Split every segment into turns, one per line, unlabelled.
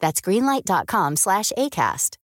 That's greenlight.com slash ACAST.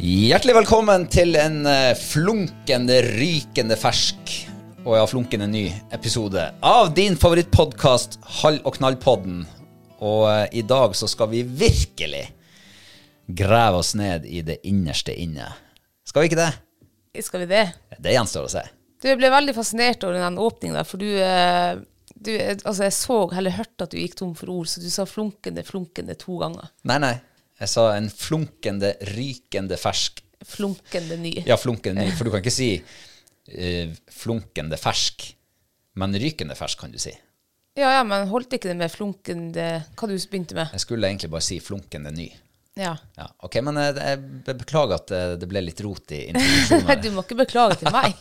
Hjertelig velkommen til en eh, flunkende, rykende fersk og ja, flunkende ny episode av din favorittpodkast Hall og knall-podden. Og eh, i dag så skal vi virkelig grave oss ned i det innerste inne. Skal vi ikke det?
Skal vi det?
Det gjenstår å se.
Du, jeg ble veldig fascinert over den åpningen der, for du, eh, du eh, Altså, jeg så eller hørte at du gikk tom for ord, så du sa flunkende, flunkende to ganger.
Nei, nei. Jeg sa en flunkende, rykende fersk.
Flunkende ny.
Ja, flunkende ny, for du kan ikke si eh, flunkende fersk. Men rykende fersk kan du si.
Ja, ja, men holdt ikke det med flunkende Hva du begynte med?
Jeg skulle egentlig bare si flunkende ny.
Ja.
Ja, ok, men eh, jeg be- beklager at eh, det ble litt rot i introduksjonen.
Nei,
her.
du må ikke beklage til meg.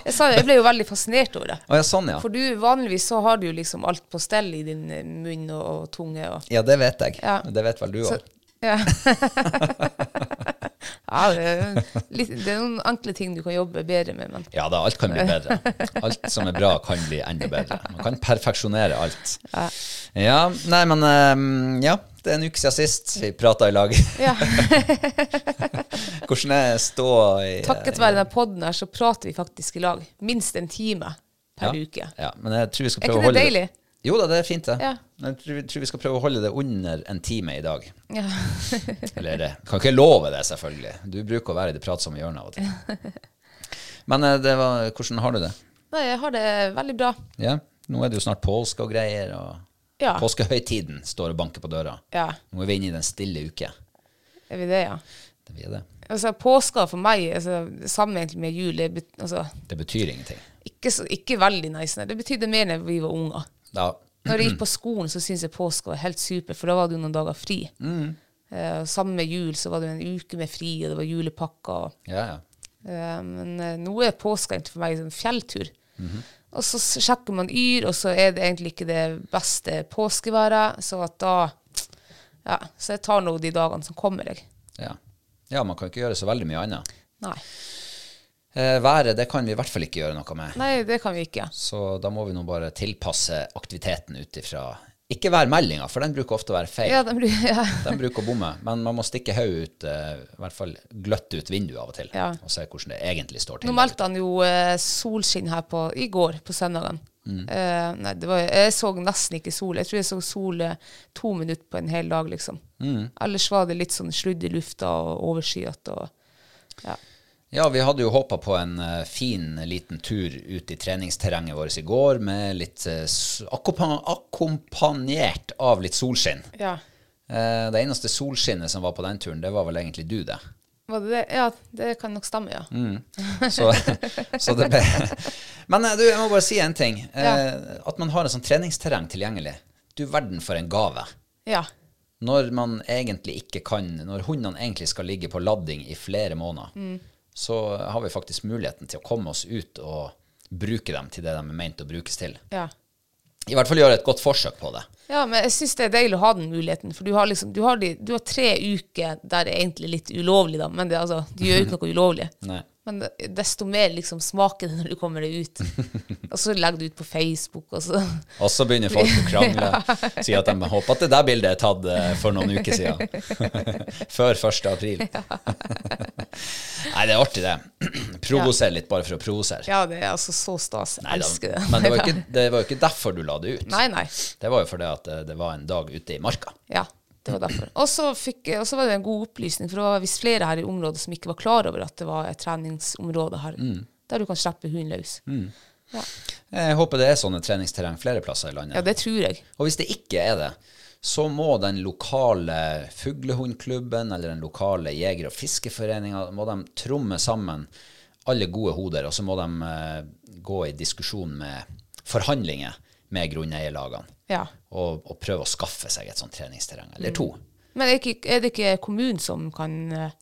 Jeg, sa, jeg ble jo veldig fascinert over det.
Å ja, sånn ja.
For du, vanligvis så har du jo liksom alt på stell i din eh, munn og, og tunge og
Ja, det vet jeg.
Ja.
Det vet vel du
Så-
òg.
Ja. ja, det er, litt, det er noen enkle ting du kan jobbe bedre med, men
Ja da, alt kan bli bedre. Alt som er bra, kan bli enda bedre. Man kan perfeksjonere alt. Ja, nei, men eh, ja. Det er en uke siden sist vi prata i lag.
ja.
Hvordan er stå i eh,
Takket være denne podden her, så prater vi faktisk i lag. Minst en time per
ja.
uke.
Ja, men jeg tror vi skal
Er
prøve
ikke
å
det
holde
deilig?
Jo da, det er fint, det.
Ja.
Men Jeg tror, tror vi skal prøve å holde det under en time i dag.
Ja.
Eller det. Kan ikke love det, selvfølgelig. Du bruker å være i det pratsomme hjørnet av og til. Men eh, det var, hvordan har du det?
Nei, jeg har det veldig bra.
Ja? Nå er det jo snart påske og greier, og
Ja.
påskehøytiden står og banker på døra.
Ja,
Nå er vi inne i den stille uke.
er vi det, ja.
Det, blir det.
Altså, påska for meg, altså, sammen egentlig med jul, det bet- altså,
det betyr ingenting.
ikke, så, ikke veldig nice. Nei. Det betydde mer når vi var unger.
Da,
Når jeg gikk på skolen, så syntes jeg påska var helt super, for da var det jo noen dager fri.
Mm.
Eh, og sammen med jul så var det jo en uke med fri, og det var julepakker. og
ja, ja.
Eh, Men eh, nå er påska egentlig for meg en sånn fjelltur. Og så s- sjekker man yr, og så er det egentlig ikke det beste påskeværet. Så at da Ja, så jeg tar nå de dagene som kommer, jeg.
ja. Ja, man kan ikke gjøre så veldig mye annet.
Nei.
Eh, været, det kan vi i hvert fall ikke gjøre noe med.
Nei, det kan vi ikke.
Så da må vi nå bare tilpasse aktiviteten ut ifra Ikke værmeldinga, for den bruker ofte å være feil.
Ja, det blir ja.
Den bruker å bomme, men man må stikke hodet ut, eh, i hvert fall gløtte ut vinduet av og til,
Ja.
og se hvordan det egentlig står til.
Nå meldte han jo eh, solskinn her på, i går, på søndagen. Eh, nei, det var, jeg så nesten ikke sol. Jeg tror jeg så sol eh, to minutter på en hel dag, Mm. liksom. Ellers var det litt sånn sludd i lufta og overskyet og ja.
Ja, vi hadde jo håpa på en eh, fin liten tur ut i treningsterrenget vårt i går, med litt eh, s- akkompa- akkompagnert av litt solskinn.
Ja.
Eh, Det eneste solskinnet som var på den turen, det var vel egentlig du, det.
Var det det? Ja, det kan nok stemme, ja.
Så, så det ble Men eh, du, jeg må bare si en ting. Eh,
Ja.
At man har en sånn treningsterreng tilgjengelig. Du verden for en gave.
Ja.
Når man egentlig ikke kan Når hundene egentlig skal ligge på ladding i flere måneder, så har vi faktisk muligheten til å komme oss ut og bruke dem til det de er meint å brukes til.
ja.
I hvert fall gjøre et godt forsøk på det.
Ja, men jeg syns det er deilig å ha den muligheten, for du har liksom Du har, de, du har tre uker der det er egentlig litt ulovlig, da, men det, er altså, du gjør jo ikke noe ulovlig.
Nei.
Men desto mer liksom smaker det når du kommer deg ut. Og så legger du ut på Facebook, og så
Og så begynner folk å krangle. Si at de håper at det der bildet er tatt eh, for noen uker siden. Før 1. april. Nei, det er artig, det. Provosere litt bare for å provosere.
Ja, det er altså så stas. Jeg
Nei da,
elsker det.
Men det var jo ikke, det var jo ikke derfor du la det ut.
Nei, nei.
Det var jo fordi at eh, det var en dag ute i marka.
Ja, det var derfor. Og så fikk- og så var det en god opplysning, for det var visst flere her i området som ikke var klar over at det var et treningsområde her, der du kan slippe hunden løs.
Jeg håper det er sånne treningsterreng flere plasser i landet.
Ja, det tror jeg.
Og hvis det ikke er det, så må den lokale fuglehundklubben eller den lokale jeger- og fiskeforeninga må de tromme sammen alle gode hoder, og så må de eh, gå i diskusjon med forhandlinger med grunneierlagene
Ja.
og, og prøve å skaffe seg et sånt treningsterreng, eller to.
Men er, ikke, er det ikke kommunen som kan eh,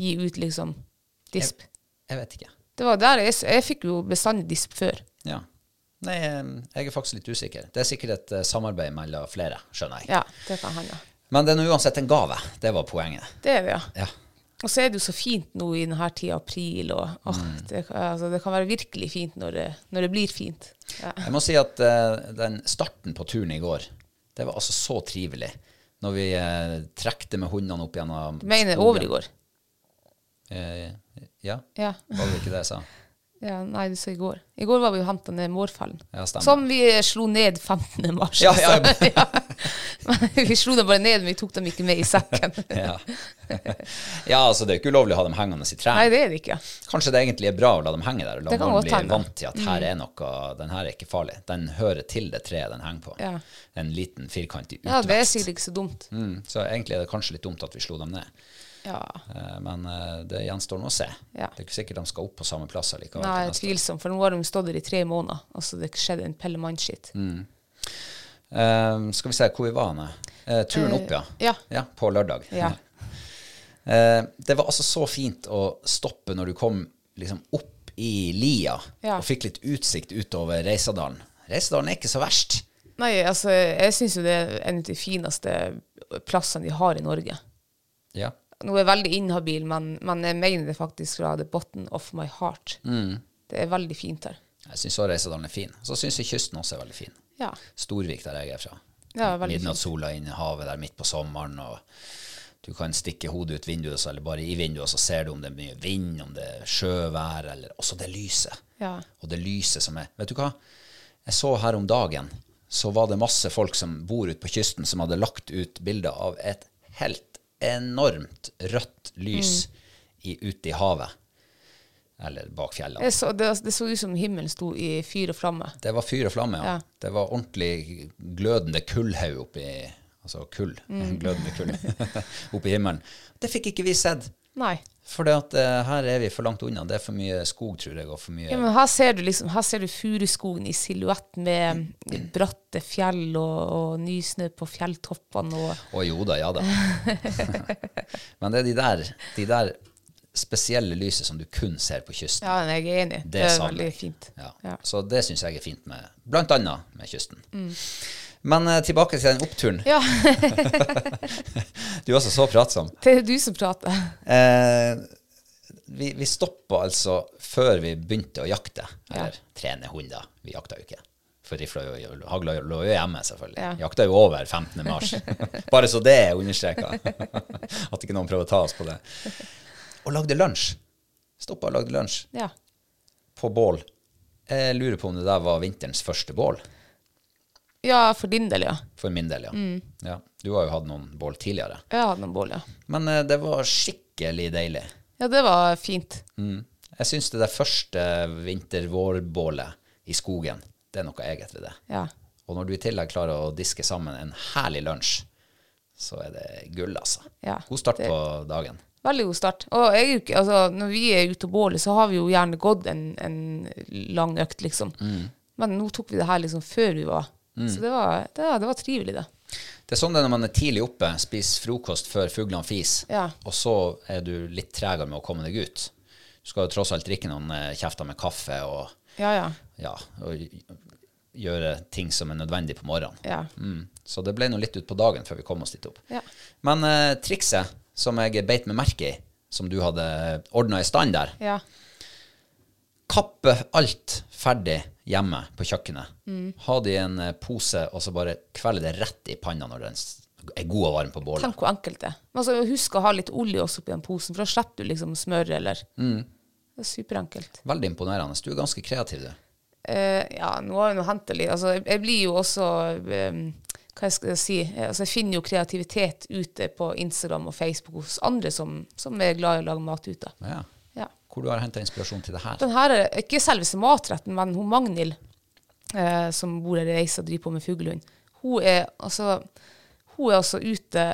gi ut liksom disp?
Jeg vet ikke.
Det var der jeg, s- jeg fikk jo bestandig disp før.
Ja. Nei, eh, jeg er faktisk litt usikker. Det er sikkert et eh, samarbeid mellom flere, skjønner jeg.
Ja, det kan hende.
Men det er nå uansett en gave. Det var poenget.
Det er det, ja.
Ja.
Og så er det jo så fint nå i denne tida april, og åh, det, kan- altså, det kan være virkelig fint når det, når det blir fint. Ja.
Jeg må si at eh, den starten på turen i går, det var altså så trivelig. Når vi uh, trekte med hundene opp gjennom
Du mener over i går?
Eh, ja,
Ja.
var det ikke det jeg sa?
Ja, nei, du sa i går. I går var vi og henta ned mårfellen.
Ja, stemmer.
som vi eh, slo ned 15. mars.
Ja, ja.
altså. Ja. Men Vi slo dem bare ned, men vi tok dem ikke med i sekken.
Ja. ja, altså det er jo ikke ulovlig å ha dem hengende i
Nei,
trærne.
det er det ikke.
Kanskje det egentlig er bra å la dem henge der, og la
Det kan
barn
godt
bli
hende. Mm.
vant til at her er noe, den her er ikke farlig. Den hører til det treet den henger på.
Ja.
En liten firkantig
Ja, det er
utvekst.
sikkert ikke så dumt.
mm, så egentlig er det kanskje litt dumt at vi slo dem ned.
Ja.
Eh, men eh, det gjenstår nå å se.
Ja.
Det er ikke sikkert de skal opp på samme plass allikevel. til
Nei,
neste år.
tvilsomt, for nå har de stått der i tre måneder, og så det skjedde en pelle mannskitt.
Eh, skal vi se hvor vi var nå. Eh, turen
Eh,
opp, ja.
ja.
På lørdag.
Ja.
Eh, det var altså så fint å stoppe når du kom liksom opp i lia
Ja.
og fikk litt utsikt utover Reisadalen. Reisadalen er ikke så verst.
Nei, altså, jeg syns jo det er en av de fineste plassene de har i Norge.
Ja.
Nå er jeg veldig inhabil, men, men jeg mener det faktisk fra the bottom of my heart. Det er veldig fint her.
Jeg syns også Reisadalen er fin. Så syns jeg kysten også er veldig fin.
Ja.
Storvik, der jeg er fra.
Ja, veldig
Midnattssola inn i havet der midt på sommeren. og Du kan stikke hodet ut vinduet, så- eller bare i vinduet, så ser du om det er mye vind, om det er sjøvær, eller også det lyset.
Ja.
Og det lyset som er Vet du hva? Jeg så her om dagen, så var det masse folk som bor ute på kysten, som hadde lagt ut bilder av et helt enormt rødt
Mm.
lys i, ute i havet. Eller bak fjellene.
Jeg så, det, det så ut som himmelen sto i fyr og flamme.
Det var fyr og flamme, ja.
Ja.
Det var ordentlig glødende kullhaug oppi Altså kull.
Mm.
Glødende kull oppi himmelen. Det fikk ikke vi sett.
Nei.
For det at eh, her er vi for langt unna. Det er for mye skog, tror jeg, og for mye
Ja, men her ser du liksom, her ser du furuskogen i silhuett med bratte fjell og, og nysnø på fjelltoppene. Og,
Å jo da, ja da. Men det er de der, de der spesielle lyset som du kun ser på kysten.
ja, nei, jeg er enig. Det, er
savner
veldig
jeg.
fint.
Ja.
Ja.
Så det syns jeg er fint med blant annet med kysten. Men eh, tilbake til den oppturen.
Mm. Ja.
Du er også så pratsom.
Det er du som prater.
Eh, vi vi stoppa altså før vi begynte å jakte. Eller trene hunder. Vi jakta jo ikke. For rifla jo, hagla jo, lå jo hjemme, selvfølgelig.
Ja.
Jakta jo over 15. mars. Bare så det er understreka. At ikke noen prøver å ta oss på det. Og lagde lunsj. Stoppa og lagde lunsj
Ja.
på bål. Jeg lurer på om det der var vinterens første bål.
ja, for din del, ja.
For min del, ja. ja. Du har jo hatt noen bål tidligere.
Jeg hadde noen bål, ja.
Men eh, det var skikkelig deilig.
Ja, det var fint.
Jeg syns det der første vinter-vårbålet i skogen, det er noe eget ved det.
Ja.
Og når du i tillegg klarer å diske sammen en herlig lunsj, så er det gull, altså.
Ja,
God start
det-
på dagen.
Veldig god start. Og jeg, er jo ikke- altså, når vi er ute og båler, så har vi jo gjerne gått en, en lang økt, liksom. Men nå tok vi det her liksom før vi var. Så det var, det, var- det var trivelig, det.
Det er sånn det er når man er tidlig oppe, spiser frokost før fuglene fiser,
Ja.
og så er du litt tregere med å komme deg ut. Du skal jo tross alt drikke noen eh, kjefter med kaffe og,
Ja, ja.
ja, og gjøre ting som er nødvendig på morgenen.
Ja.
Mm. Så det ble nå litt ut på dagen før vi kom oss dit opp.
Ja.
Men eh, trikset som jeg beit meg merke i, som du hadde ordna i stand der,
ja.
kappe alt ferdig hjemme på kjøkkenet.
Mm.
Ha det i en eh, pose, og så bare kvele det rett i panna når den s- er god og varm på bålet.
Tenk hvor enkelt det er. Men altså, husk å ha litt olje også oppi den posen, for da slipper du liksom smør eller Det er superenkelt.
Veldig imponerende. Du er ganske kreativ, du.
Eh, ja, nå har jeg nå hentet litt Altså, jeg, jeg blir jo også eh, Hva jeg skal jeg si Eh, Altså, jeg finner jo kreativitet ute på Instagram og Facebook hos andre som, som er glad i å lage mat ute.
Ja.
Ja.
Hvor du har henta inspirasjon til det her?
Den her er ikke selveste matretten, men hun Magnhild, eh, som bor her i Reisa og driver på med fuglehund, hun er altså hun er altså ute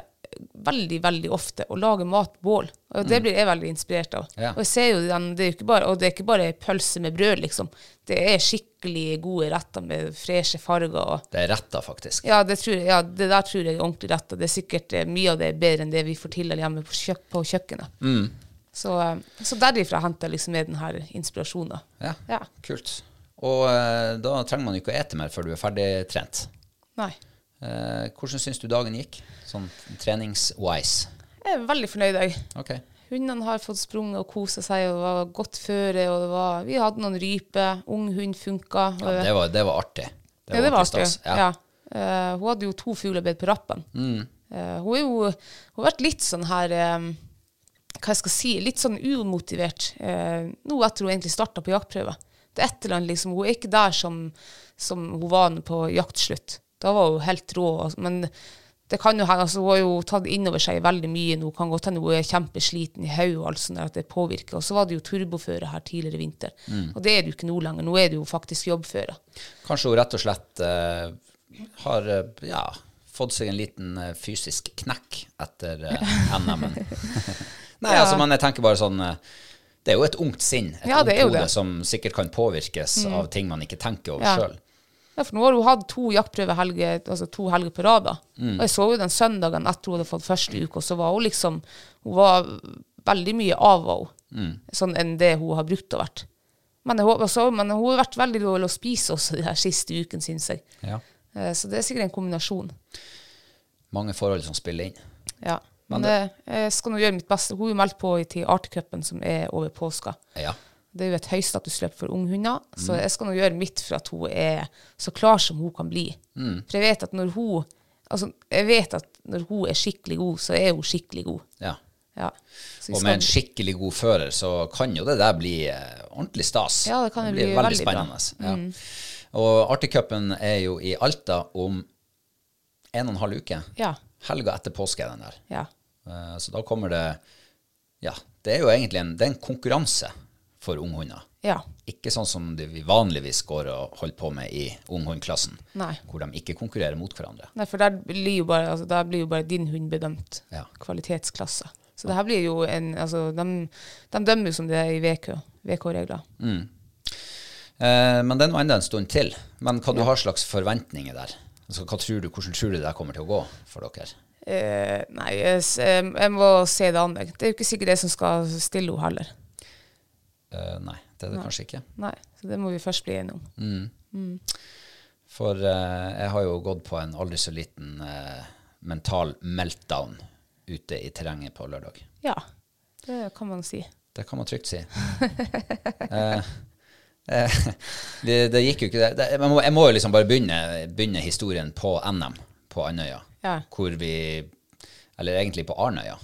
veldig, veldig ofte og lager mat på bål. Og det blir jeg veldig inspirert av.
Ja.
Og jeg ser jo den, det er jo ikke bare, og det er ikke bare pølse med brød, liksom. Det er skikkelig gode retter med freshe farger og
Det er retta, faktisk.
ja det, tror jeg, ja, det der tror jeg er ordentlig rett, og det er sikkert eh, mye av det er bedre enn det vi får til her hjemme på, kjøk på kjøkkenet. Så, eh, så derifra henter jeg liksom med den her inspirasjonen.
Ja,
Ja.
kult. Og eh, da trenger man jo ikke å ete mer før du er ferdig trent.
Nei.
Eh, hvordan syns du dagen gikk, sånn trenings-wise?
Jeg er veldig fornøyd, jeg.
Ok.
Hundene har fått sprunget og koset seg, og det var godt føre, og det var, vi hadde noen ryper, ung hund funka. og-
Ja, det var, det var artig. Det
ja, det var
ordentlig
artig.
stas.
Ja. Eh, hun hadde jo to fuglebeid på rappen. Eh, hun, er jo, hun har vært litt sånn her eh, Hva jeg skal si? Litt sånn umotivert eh, nå etter hun egentlig starta på jaktprøve. Det er et eller annet, liksom. Hun er ikke der som, som hun var på jaktslutt. Da var hun helt rå. altså, Men det kan jo hende, altså, hun har jo tatt innover seg veldig mye nå. Kan godt hende hun er kjempesliten i hodet og alt sånt, der, at det påvirker. Og så var det jo turboføre her tidligere i vinter. Og det er det jo ikke nå lenger. Nå er det jo faktisk jobbføre.
Kanskje hun rett og slett eh, har eh, ja, fått seg en liten eh, fysisk knekk etter eh, NM-en. Nei, altså, men jeg tenker bare sånn eh, Det er jo et ungt sinn, et
Ja,
ungt
det er jo
hode,
det. Mm.
som sikkert kan påvirkes av ting man ikke tenker over
Ja.
selv. sjøl.
Ja, for nå har hun hatt to jaktprøvehelger, altså to helger på rad. da. Og jeg så jo den søndagen etter hun hadde fått første uke, og så var hun liksom Hun var veldig mye av henne, sånn enn det hun har brukt og vært. Men, jeg håper også, men hun har vært veldig dårlig å spise også de her siste ukene, syns jeg.
Ja.
Eh, Så det er sikkert en kombinasjon.
Mange forhold som spiller inn.
Ja. Men eh, jeg skal nå gjøre mitt beste. Hun er jo meldt på i- til Artcupen, som er over påska.
Ja.
Det er jo et høystatusløp for unghunder, så
Mm.
jeg skal nå gjøre mitt for at hun er så klar som hun kan bli.
Mm.
For jeg vet at når hun Altså, jeg vet at når hun er skikkelig god, så er hun skikkelig god.
ja.
Ja. Så vi
Og
skal-
med en skikkelig god fører så kan jo det der bli eh, ordentlig stas.
Ja, det kan jo
blir
bli
veldig
veldig bra. Mm.
spennende. Ja. Og Artigcupen er jo i Alta om en og en halv uke.
Ja.
Helga etter påske er den der.
Ja.
Eh, Så da kommer det Ja, det er jo egentlig en, det er en konkurranse for unghunder.
ja.
Ikke sånn som det vi vanligvis går og holder på med i unghundklassen,
Nei.
hvor de ikke konkurrerer mot hverandre.
Nei, for der blir jo bare, altså, der blir jo bare din hund bedømt.
Ja.
Kvalitetsklasse. Så det her blir jo en Altså, de, de dømmer jo som det er i VK. VK-regler.
Mm. Eh, Men den var enda en stund til. Men hva du har slags forventninger der? Altså, hva tror du, hvordan tror du det der kommer til å gå for dere?
Eh, nei, jeg, s- eh, jeg må se det an. jeg. Det er jo ikke sikkert jeg som skal stille henne heller.
Eh, nei, det er det kanskje ikke.
Nei, så det må vi først bli enige om.
Mm. For eh, jeg har jo gått på en aldri så liten eh, mental meltdown ute i terrenget på lørdag.
Ja, det kan man si.
Det kan man trygt si. Eh, eh, det, det gikk jo ikke det. det jeg, må, jeg må jo liksom bare begynne, begynne historien på NM på Andøya.
Ja.
Hvor vi Eller egentlig på Arnøya.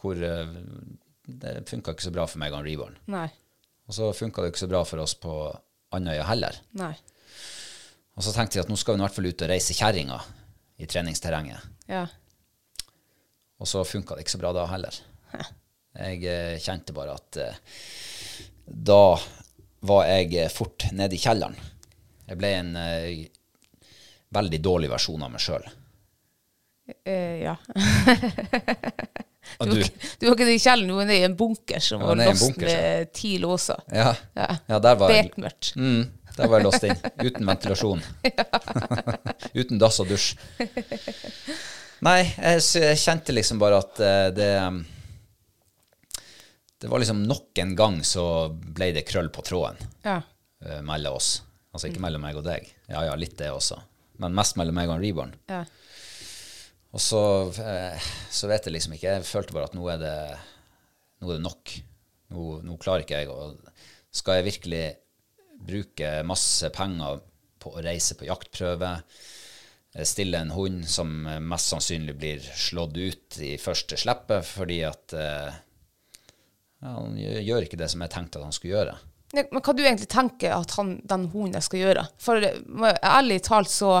Hvor eh, det funka ikke så bra for meg og han Reborn.
Nei.
Og så funka det ikke så bra for oss på Andøya heller.
Nei.
Og så tenkte jeg at nå skal vi i hvert fall ut og reise kjerringa i treningsterrenget.
Ja.
Og så funka det ikke så bra da heller. Jeg eh, kjente bare at eh, Da var jeg eh, fort nede i kjelleren. Jeg ble en eh, veldig dårlig versjon av meg sjøl.
Eh, ja.
Og
Du var,
du?
ikke, du var ikke i kjelleren, du var nede i en bunker som
Jeg var
var
nede i en
låst
bunker,
med ti låser.
Ja, ja der var jeg.
Bekmørkt.
Mm, der var jeg låst inn. Uten ventilasjon. Uten dass og dusj. Nei, jeg, s- jeg kjente liksom bare at eh, det um, Det var liksom nok en gang så ble det krøll på tråden
Ja.
eh, mellom oss. Altså ikke mellom meg og deg. Ja ja, litt det også. Men mest mellom meg og en Reborn.
ja.
Og så, eh, så vet jeg liksom ikke. Jeg følte bare at nå er det, nå er det nok. Nå, nå klarer ikke jeg å Skal jeg virkelig bruke masse penger på å reise på jaktprøve, eh, stille en hund som eh, mest sannsynlig blir slått ut i første slippet fordi at eh, ja, han gjør gjør ikke det som jeg tenkte at han skulle gjøre.
Nei, Men hva du egentlig tenker at han, den hunden skal gjøre? For eh, må jeg- ærlig talt så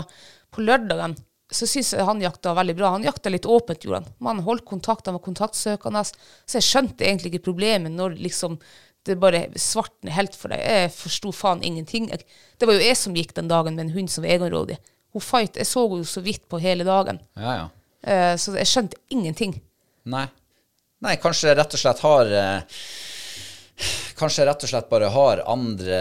på lørdagen så syns jeg han jakta veldig bra. Han jakta litt åpent, gjorde han. Man holdt kontakt, han var kontaktsøkende. Så jeg skjønte egentlig ikke problemet når liksom det bare svartner helt for deg. Jeg forsto faen ingenting. Jeg, det var jo jeg som gikk den dagen med en hund som var egenrådig. Hun fight, Jeg så henne jo så vidt på hele dagen,
Ja, ja.
Eh, så jeg skjønte ingenting.
Nei. Nei, kanskje jeg rett og slett har eh, Kanskje jeg rett og slett bare har andre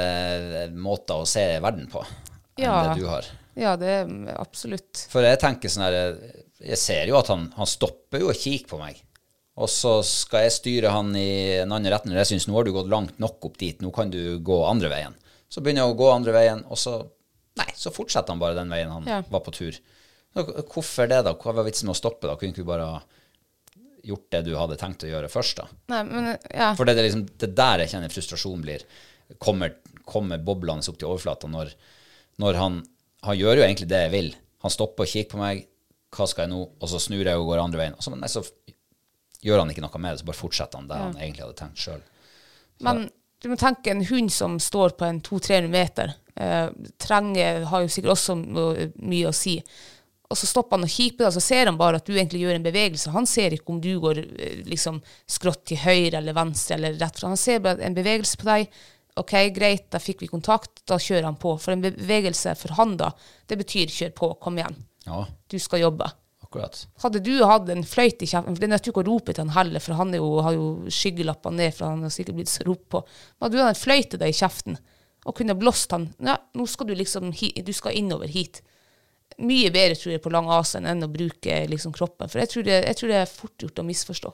eh, måter å se verden på enn
Ja.
det du har.
Ja, det er mm, absolutt.
For jeg tenker sånn her eh, Jeg ser jo at han, han stopper jo og kikker på meg. Og så skal jeg styre han i en annen retning. Jeg syns nå har du gått langt nok opp dit, nå kan du gå andre veien. Så begynner jeg å gå andre veien, og så Nei, så fortsetter han bare den veien han
Ja.
var på tur. Så Hvorfor det, da? Hva var vitsen med å stoppe, da? Kunne ikke du bare ha gjort det du hadde tenkt å gjøre først, da?
Nei, men eh, ja.
For det er liksom det der jeg kjenner frustrasjon blir. Kommer, kommer boblene opp til overflata når, når han Han gjør jo egentlig det jeg vil. Han stopper og kikker på meg. Hva skal jeg nå? Og så snur jeg og går andre veien. Og så, nei, så gjør han ikke noe med det, så bare fortsetter han der han egentlig hadde tenkt sjøl.
Men Mm, du må tenke en hund som står på en 200-300 meter. Eh, terrenget har jo sikkert også noe, mye å si. Og så stopper han og kikker på deg, og så ser han bare at du egentlig gjør en bevegelse. Han ser ikke om du går eh, liksom skrått til høyre eller venstre eller rett fra. Han ser bare en bevegelse på deg. OK, greit, da fikk vi kontakt. Da kjører han på. For en bevegelse for han, da, det betyr kjør på, kom igjen.
Ja,
Du skal jobbe.
akkurat.
Hadde du hatt en fløyt i kjeften, for det nytter jo ikke å rope til han heller, for han er jo, har jo skyggelappene ned, for han har sikkert blitt så ropt på. Men hadde du hatt en fløyt i deg i kjeften, og kunne blåst han, ja, nå skal du liksom, hi- du skal innover hit. Mye bedre, tror jeg, på lang avstand enn å bruke liksom kroppen, for jeg tror det, jeg tror det er fort gjort å misforstå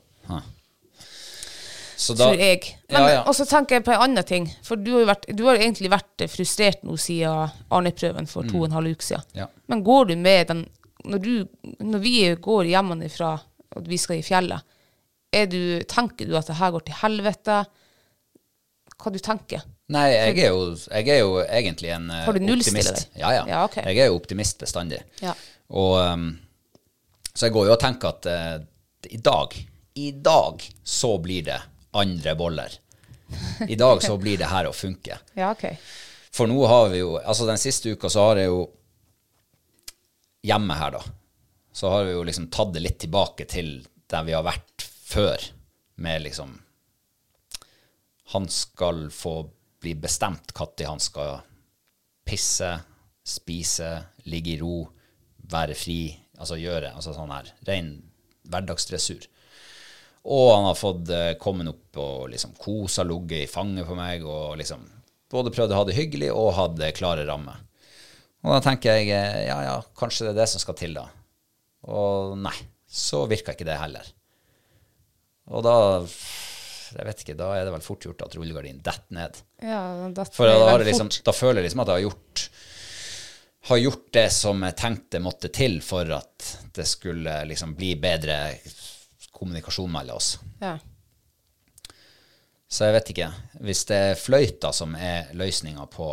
Så da
tror jeg. Men,
Ja, ja.
Og så tenker jeg på en annen ting. For du har jo vært, du har egentlig vært frustrert nå siden Arne-prøven for to og en halv uke siden.
Mm. Ja.
Men går du med den Når, du, når vi går hjemmefra og vi skal i fjellet, er du, tenker du at det her går til helvete? Hva du tenker
Nei, jeg er jo, jeg er jo egentlig en eh,
Har du nullstille
optimist.
deg?
Ja, ja.
Ja, ok.
Jeg er jo optimist bestandig.
Ja.
Og, ehm, så jeg går jo og tenker at eh, i dag, i dag så blir det andre boller. I dag så blir det her å funke.
Ja, OK.
For nå har vi jo Altså, den siste uka så har jeg jo Hjemme her, da, så har vi jo liksom tatt det litt tilbake til der vi har vært før, med liksom Han skal få bli bestemt når han skal pisse, spise, ligge i ro, være fri, altså gjøre altså sånn her ren hverdagsdressur. Og han har fått eh, kommet opp og liksom kosa, ligget i fanget på meg og liksom både prøvd å ha det hyggelig og hadde klare rammer. Og da tenker jeg eh, ja, ja, kanskje det er det som skal til, da. Og nei, så virka ikke det heller. Og da jeg vet ikke, da er det vel fort gjort at rullegardinen detter ned.
Ja, da,
For da, har jeg liksom, da føler jeg liksom at jeg har gjort, har gjort det som jeg tenkte måtte til for at det skulle liksom bli bedre kommunikasjon mellom oss.
ja.
Så jeg vet ikke. Hvis det er fløyta som er løsninga på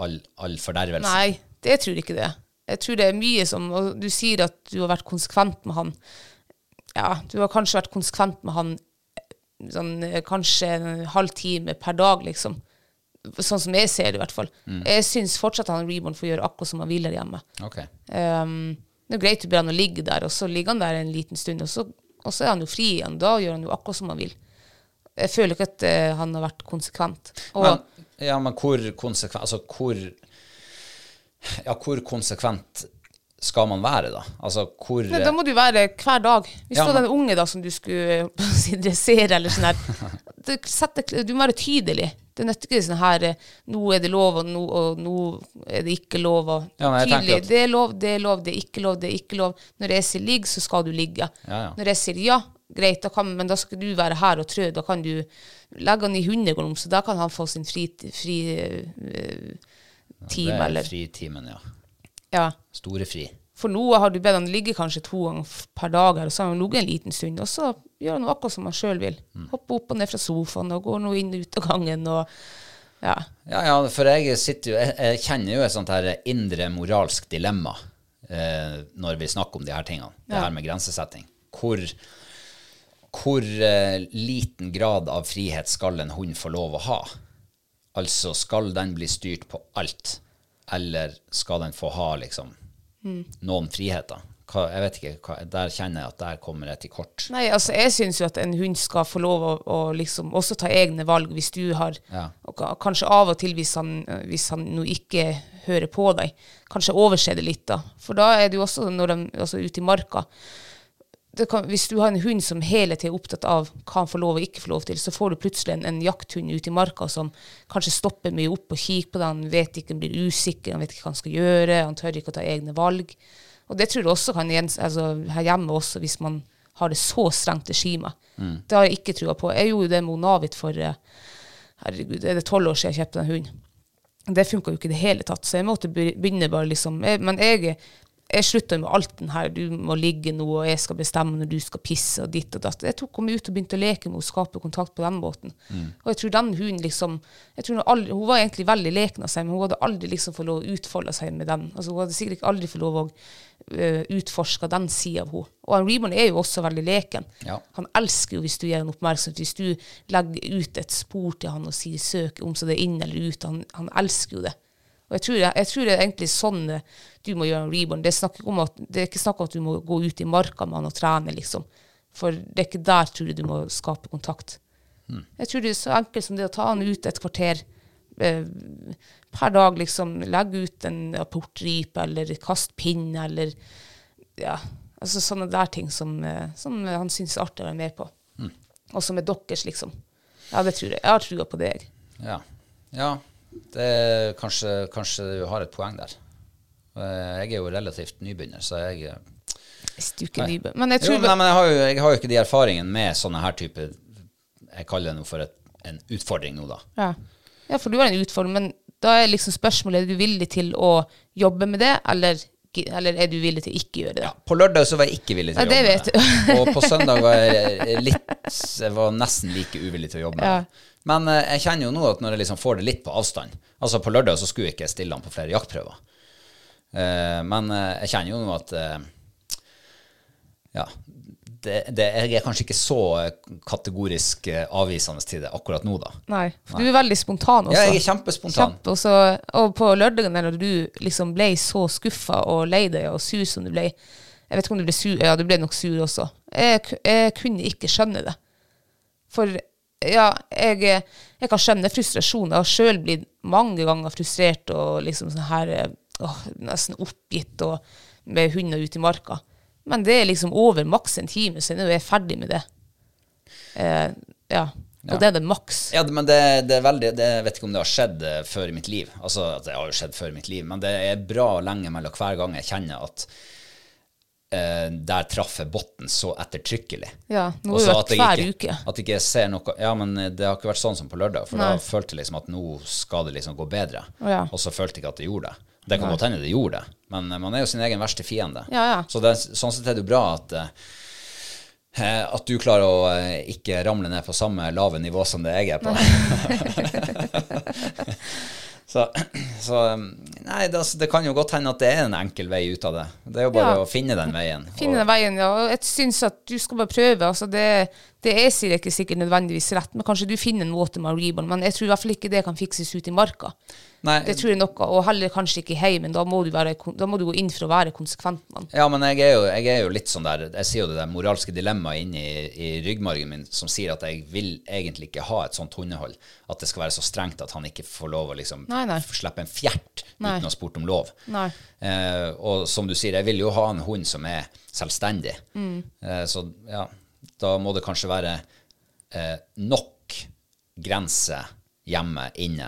all, all fordervelse
Nei, det tror jeg ikke det. Jeg tror det er mye som Og du sier at du har vært konsekvent med han. Ja, du har kanskje vært konsekvent med han eh, sånn eh, kanskje en halv time per dag, liksom. Sånn som jeg ser det, i hvert fall. Jeg syns fortsatt han Reborn får gjøre akkurat som han vil der hjemme.
Ok.
Ehm, det er greit du ber han å ligge der, og så ligger han der en liten stund, og så, og så er han jo fri igjen. Da gjør han jo akkurat som han vil. Jeg føler ikke at eh, han har vært konsekvent. Og
Men, ja, men hvor konsekvent Altså, hvor Ja, hvor konsekvent skal man være, da? Altså, hvor
Nei, da må du være hver dag. Hvis
Ja,
du hadde
men-
en unge da som du skulle holdt på å si, dressere eller sånn her det setter- Du må være tydelig. Det nytter ikke sånn her eh, Nå er det lov, og nå, og nå er det ikke lov. Og
Ja, men jeg tenker
tydelig.
at-
Det er lov, det er lov, det er ikke lov, det er ikke lov. Når jeg sier ligg, så skal du ligge.
Ja, ja.
Når jeg sier ja, greit, da kan, men da skal du være her og trø. Da kan du legge han i hundegolm, så da kan han få sin fri, fri eh,
Det
time,
er
eller
Fritimen, ja.
Ja.
Store fri.
For nå har du bedt han ligge kanskje to ganger f- per dag, her, og så har han ligget en liten stund. Og så gjør han akkurat som han sjøl vil. Hopper opp og ned fra sofaen og går nå inn og ut av gangen og ja.
Ja, ja, for jeg sitter jo Jeg, jeg kjenner jo et sånt her indre moralsk dilemma eh, når vi snakker om de her tingene. Det
Ja.
her med grensesetting. Hvor, hvor eh, liten grad av frihet skal en hund få lov å ha? Altså, skal den bli styrt på alt, eller skal den få ha liksom noen friheter? Hva, jeg vet ikke, hva, Der kjenner jeg at der kommer jeg til kort.
Nei, altså jeg syns jo at en hund skal få lov å, å liksom også ta egne valg hvis du har
Ja.
og ka- Kanskje av og til hvis han, hvis han nå ikke hører på deg, kanskje overse det litt da. For da er det jo også når de, altså ute i marka det kan, Hvis du har en hund som hele tiden er opptatt av hva han får lov og ikke får lov til, så får du plutselig en, en jakthund ute i marka som kanskje stopper mye opp og kikker på deg, han vet ikke, han blir usikker, han vet ikke hva han skal gjøre, han tør ikke å ta egne valg. Og det tror jeg også kan gjens- altså, her hjemme også, hvis man har det så strengt regime. Det har jeg ikke trua på. Jeg gjorde jo det med Onavit for eh, herregud, er det tolv år siden jeg kjøpte den hunden? Det funka jo ikke i det hele tatt, så jeg måtte be- begynne bare liksom jeg, Men jeg, jeg slutta jo med alt den her du må ligge nå, og jeg skal bestemme når du skal pisse, og ditt og datt. Jeg tok henne ut og begynte å leke med henne og skape kontakt på den måten. Og jeg tror den hunden liksom jeg tror hun, aldri, hun var egentlig veldig leken av seg, men hun hadde aldri liksom fått lov å utfolde seg med den. Altså, hun hadde sikkert ikke aldri fått lov å øh, utforske den sida av henne. Og en Reborn er jo også veldig leken.
Ja.
Han elsker jo hvis du gir han oppmerksomhet, hvis du legger ut et spor til han og sier 'søk', om så det er inn eller ut. Han, han elsker jo det. Og jeg tror, jeg, jeg tror det er egentlig sånn eh, du må gjøre en reborn. Det er, snakk om at, det er ikke snakk om at du må gå ut i marka med han og trene, liksom. For det er ikke der, tror jeg, du må skape kontakt. Jeg tror det er så enkelt som det å ta han ut et kvarter eh, per dag, liksom. Legge ut en apportripe, eller kast pinn, eller ja, altså sånne der ting som, eh, som han syns er artig å være med på.
Mm.
Og som er deres, liksom. Ja, det tror jeg. Jeg har trua på det, jeg.
Ja. ja det, kanskje, kanskje du har et poeng der. Eh, Jeg er jo relativt nybegynner, så jeg
Hvis du ikke er nybø- Men jeg
jo,
tror
men, nei, men jeg, har jo, jeg har jo ikke de erfaringene med sånne her type Jeg kaller det nå for et, en utfordring nå, da.
Ja. ja, for du har en utfordring, men da er liksom spørsmålet er du villig til å jobbe med det, eller, eller er du villig til å ikke gjøre det?
Ja, på lørdag så var jeg ikke villig til å
Nei,
jobbe
det
med det. Og på søndag var jeg litt Jeg var nesten like uvillig til å jobbe med
Ja.
det. Men eh, jeg kjenner jo nå at når jeg liksom får det litt på avstand Altså på lørdag så skulle jeg ikke stille han på flere jaktprøver. Eh, men eh, jeg kjenner jo nå at eh, Ja. Det, det, jeg er kanskje ikke så eh, kategorisk eh, avvisende til det akkurat nå, da.
Nei, for du er veldig spontan også.
Ja, jeg er kjempespontan.
Kjapp, og, så, og på lørdagen der når du liksom ble så skuffa og lei deg og sur som du ble Jeg vet ikke om du ble sur, ja, du ble nok sur også. Jeg, ku- jeg kunne ikke skjønne det. For ja, jeg, jeg kan skjønne frustrasjonen. Jeg har sjøl blitt mange ganger frustrert og liksom sånn her eh, åh, nesten oppgitt og med hunder ute i marka. Men det er liksom over maks en time, så nå er jeg ferdig med det. Eh, ja. Og
Ja.
det er det maks.
Ja, det- men det, det er veldig det, Jeg vet ikke om det har skjedd eh, før i mitt liv. Altså, at det har jo skjedd før i mitt liv, men det er bra lenge mellom hver gang jeg kjenner at eh, der traff jeg bunnen så ettertrykkelig.
Ja, nå
Og
har
så
det
at
vært
jeg
hver
ikke,
uke.
At jeg ikke ser noe Ja, men det har ikke vært sånn som på lørdag, for
Nei.
da følte jeg liksom at nå skal det liksom gå bedre.
Å, ja.
Og så følte jeg ikke at det gjorde det. Det kan godt hende det gjorde det, men eh, man er jo sin egen verste fiende.
Ja, ja.
Så det, er- sånn sett er det jo bra at eh, eh, at du klarer å eh, ikke ramle ned på samme lave nivå som det jeg er på. så, så um, Nei, det, altså, det kan jo godt hende at det er en enkel vei ut av det. Det er jo bare
Ja.
å finne den veien.
Finne
og-
den veien, ja. Og jeg syns at du skal bare prøve. Altså det, Det er sier ikke sikkert nødvendigvis rett, men kanskje du finner en watermark ribbon. Men jeg tror i hvert fall ikke det kan fikses ut i marka.
Nei,
Det tror jeg noe, og heller kanskje ikke i heimen. Da må du, være, kon- da må du gå inn for å være konsekvent, mann.
Ja, men jeg er, jo, jeg er jo litt sånn der Jeg sier jo det der moralske dilemmaet inni i ryggmargen min som sier at jeg vil egentlig ikke ha et sånt hundehold. At det skal være så strengt at han ikke får lov å liksom
Nei, nei.
f- slippe en fjert
Nei.
uten å ha spurt om lov.
Nei.
Eh, og som du sier, jeg vil jo ha en hund som er selvstendig. Eh, så ja, da må det kanskje være eh, nok grenser hjemme inne.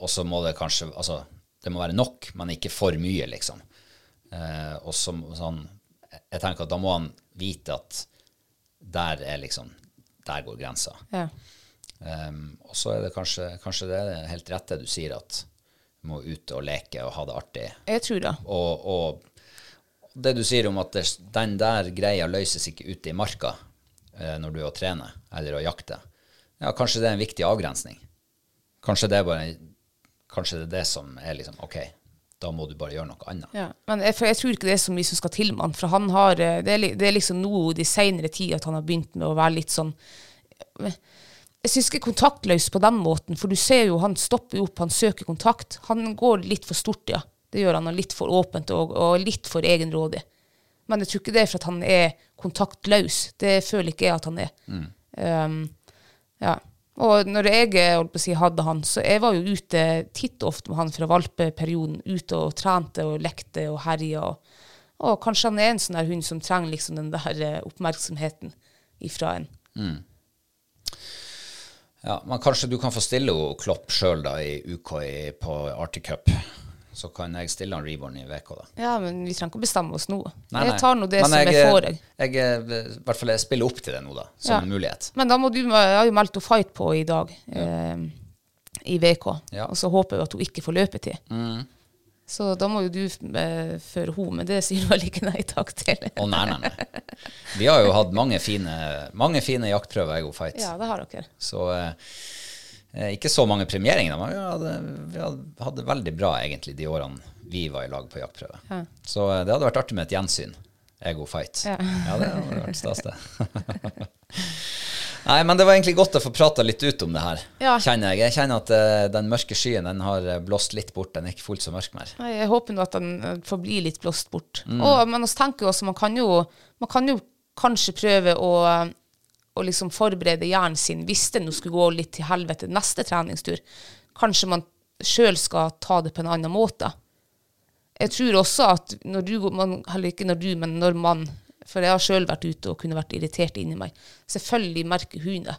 Og så må det kanskje Altså, det må være nok, men ikke for mye, liksom. Eh, og så, sånn, jeg tenker at da må han vite at der er liksom Der går grensa.
Ja.
Um, og så er det kanskje, kanskje det er helt rett det du sier, at du må ut og leke og ha det artig.
Jeg tror det.
Og, og det du sier om at det, den der greia løses ikke ute i marka eh, når du er og trener eller og jakter, ja, kanskje det er en viktig avgrensning. Kanskje det er, bare, kanskje det, er det som er liksom OK, da må du bare gjøre noe annet.
Ja. Men jeg, for jeg tror ikke det er så mye som skal til mann, for han har eh, Det er, li- det er liksom nå de seinere tid at han har begynt med å være litt sånn Jeg syns ikke kontaktløs på den måten, for du ser jo han stopper jo opp, han søker kontakt. Han går litt for stort, ja. Det gjør han, og litt for åpent og, og litt for egenrådig. Men jeg tror ikke det er for at han er kontaktløs. Det føler ikke jeg at han er. Um, ja. Og når jeg eh, holdt på å si, hadde han, så jeg var jo ute titt og ofte med han fra valpeperioden. Ute og trente og lekte og herja. Og, og kanskje han er en sånn der hund som trenger liksom den der eh, oppmerksomheten ifra en.
Ja, men kanskje du kan få stille ho Klopp sjøl da i UKI på Arctic Cup. Så kan jeg stille han Reborn i VK, da.
Ja, men vi trenger ikke å bestemme oss nå.
Nei, nei.
Jeg tar nå det
Men
som jeg, får. Jeg.
Jeg, eh, i hvert fall jeg spiller opp til det nå, da, som
Ja.
en mulighet.
Men da må du, jeg har jo meldt henne fight på i dag, eh, i VK.
Ja. Mm.
Og så håper jeg at hun ikke får løpetid. Så da må jo du eh, føre henne, men det sier du vel ikke nei takk til?
Å, nei, nei, nei. Vi har jo hatt mange fine, mange fine jaktprøver i God Fight.
Ja, det har dere.
Så eh, eh, ikke så mange premieringer, men vi hadde, vi hadde, hadde veldig bra egentlig de årene vi var i lag på jaktprøve.
Ja.
Så eh, det hadde vært artig med et gjensyn. Ego fight.
Ja.
det hadde vært stas, det. Nei, men det var egentlig godt å få prata litt ut om det her,
Ja.
kjenner jeg. Jeg kjenner at eh, den mørke skyen den har eh, blåst litt bort. Den er ikke fullt så mørk mer.
Nei, Jeg håper nå at den eh, får bli litt blåst bort. Og, men vi tenker jo også, man kan jo, man kan jo kanskje prøve å, eh, å liksom forberede hjernen sin hvis det nå skulle gå litt til helvete neste treningstur. Kanskje man sjøl skal ta det på en annen måte. Jeg tror også at når du, går- man, eller ikke når du, men når man, for jeg har sjøl vært ute og kunne vært irritert inni meg, selvfølgelig merker hun det.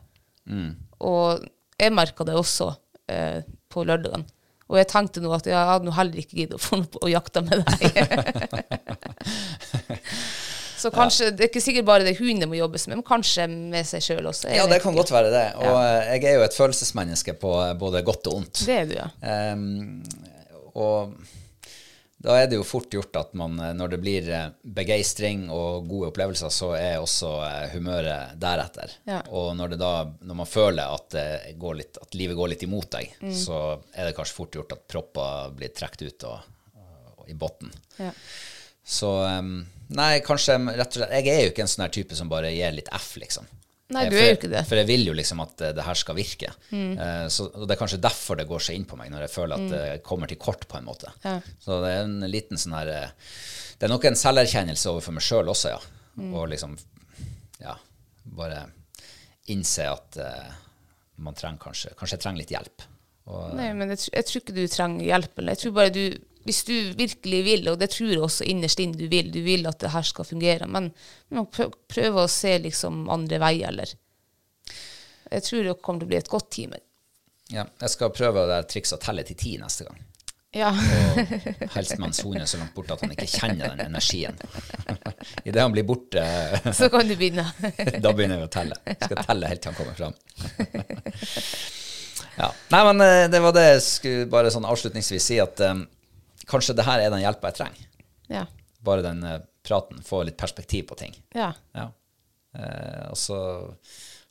Mm.
Og jeg merka det også eh, på lørdagen. Og jeg tenkte nå at jeg hadde nå heller ikke giddet å få noe på- å jakte med deg. Så kanskje, det er ikke sikkert bare det hundene må jobbes med, men kanskje med seg sjøl også. Jeg
Ja, det
vet
kan
ikke.
godt være det. Og eh, jeg er jo et følelsesmenneske på eh, både godt og ondt.
Det er du, ja.
Ehm, og da er det jo fort gjort at man, eh, når det blir eh, begeistring og gode opplevelser, så er også eh, humøret deretter.
Ja.
Og når, det da, når man føler at, det går litt, at livet går litt imot deg, så er det kanskje fort gjort at propper blir trukket ut og, og, i bunnen.
ja.
Så ehm, nei, kanskje rett og slett Jeg er jo ikke en sånn her type som bare gir litt F, liksom.
Nei,
Eh, for
du er jo
jeg-
ikke det. Mm.
For jeg vil jo liksom at eh, det her skal virke. Eh, så, og det er kanskje derfor det går så inn på meg, når jeg føler at det kommer til kort, på en måte.
Ja.
Så det er en liten sånn her eh, Det er nok en selverkjennelse overfor meg sjøl også, ja.
Mm.
Og liksom, ja, bare innse at eh, man trenger kanskje Kanskje jeg trenger litt hjelp. Og,
Nei, men jeg, tr- jeg tror ikke du trenger hjelp. Eller. Jeg tror bare du, hvis du virkelig vil, og det tror jeg også innerst inne du vil, du vil at det her skal fungere, men man prø- prøver å se liksom andre veier, eller Jeg tror det kommer til å bli et godt team.
ja, jeg skal prøve det der trikset å eh, telle til ti neste gang.
Ja.
Og helst med en sone så langt borte at han ikke kjenner den energien. Idet han blir borte,
Så kan du begynne.
da begynner vi å telle. Skal telle helt til han kommer fram. Ja. Nei, men eh, det var det jeg skulle bare sånn avslutningsvis si, at eh, kanskje det her er den hjelpa jeg trenger.
Ja.
Bare den eh, praten. Få litt perspektiv på ting.
ja.
Ja. Eh, og så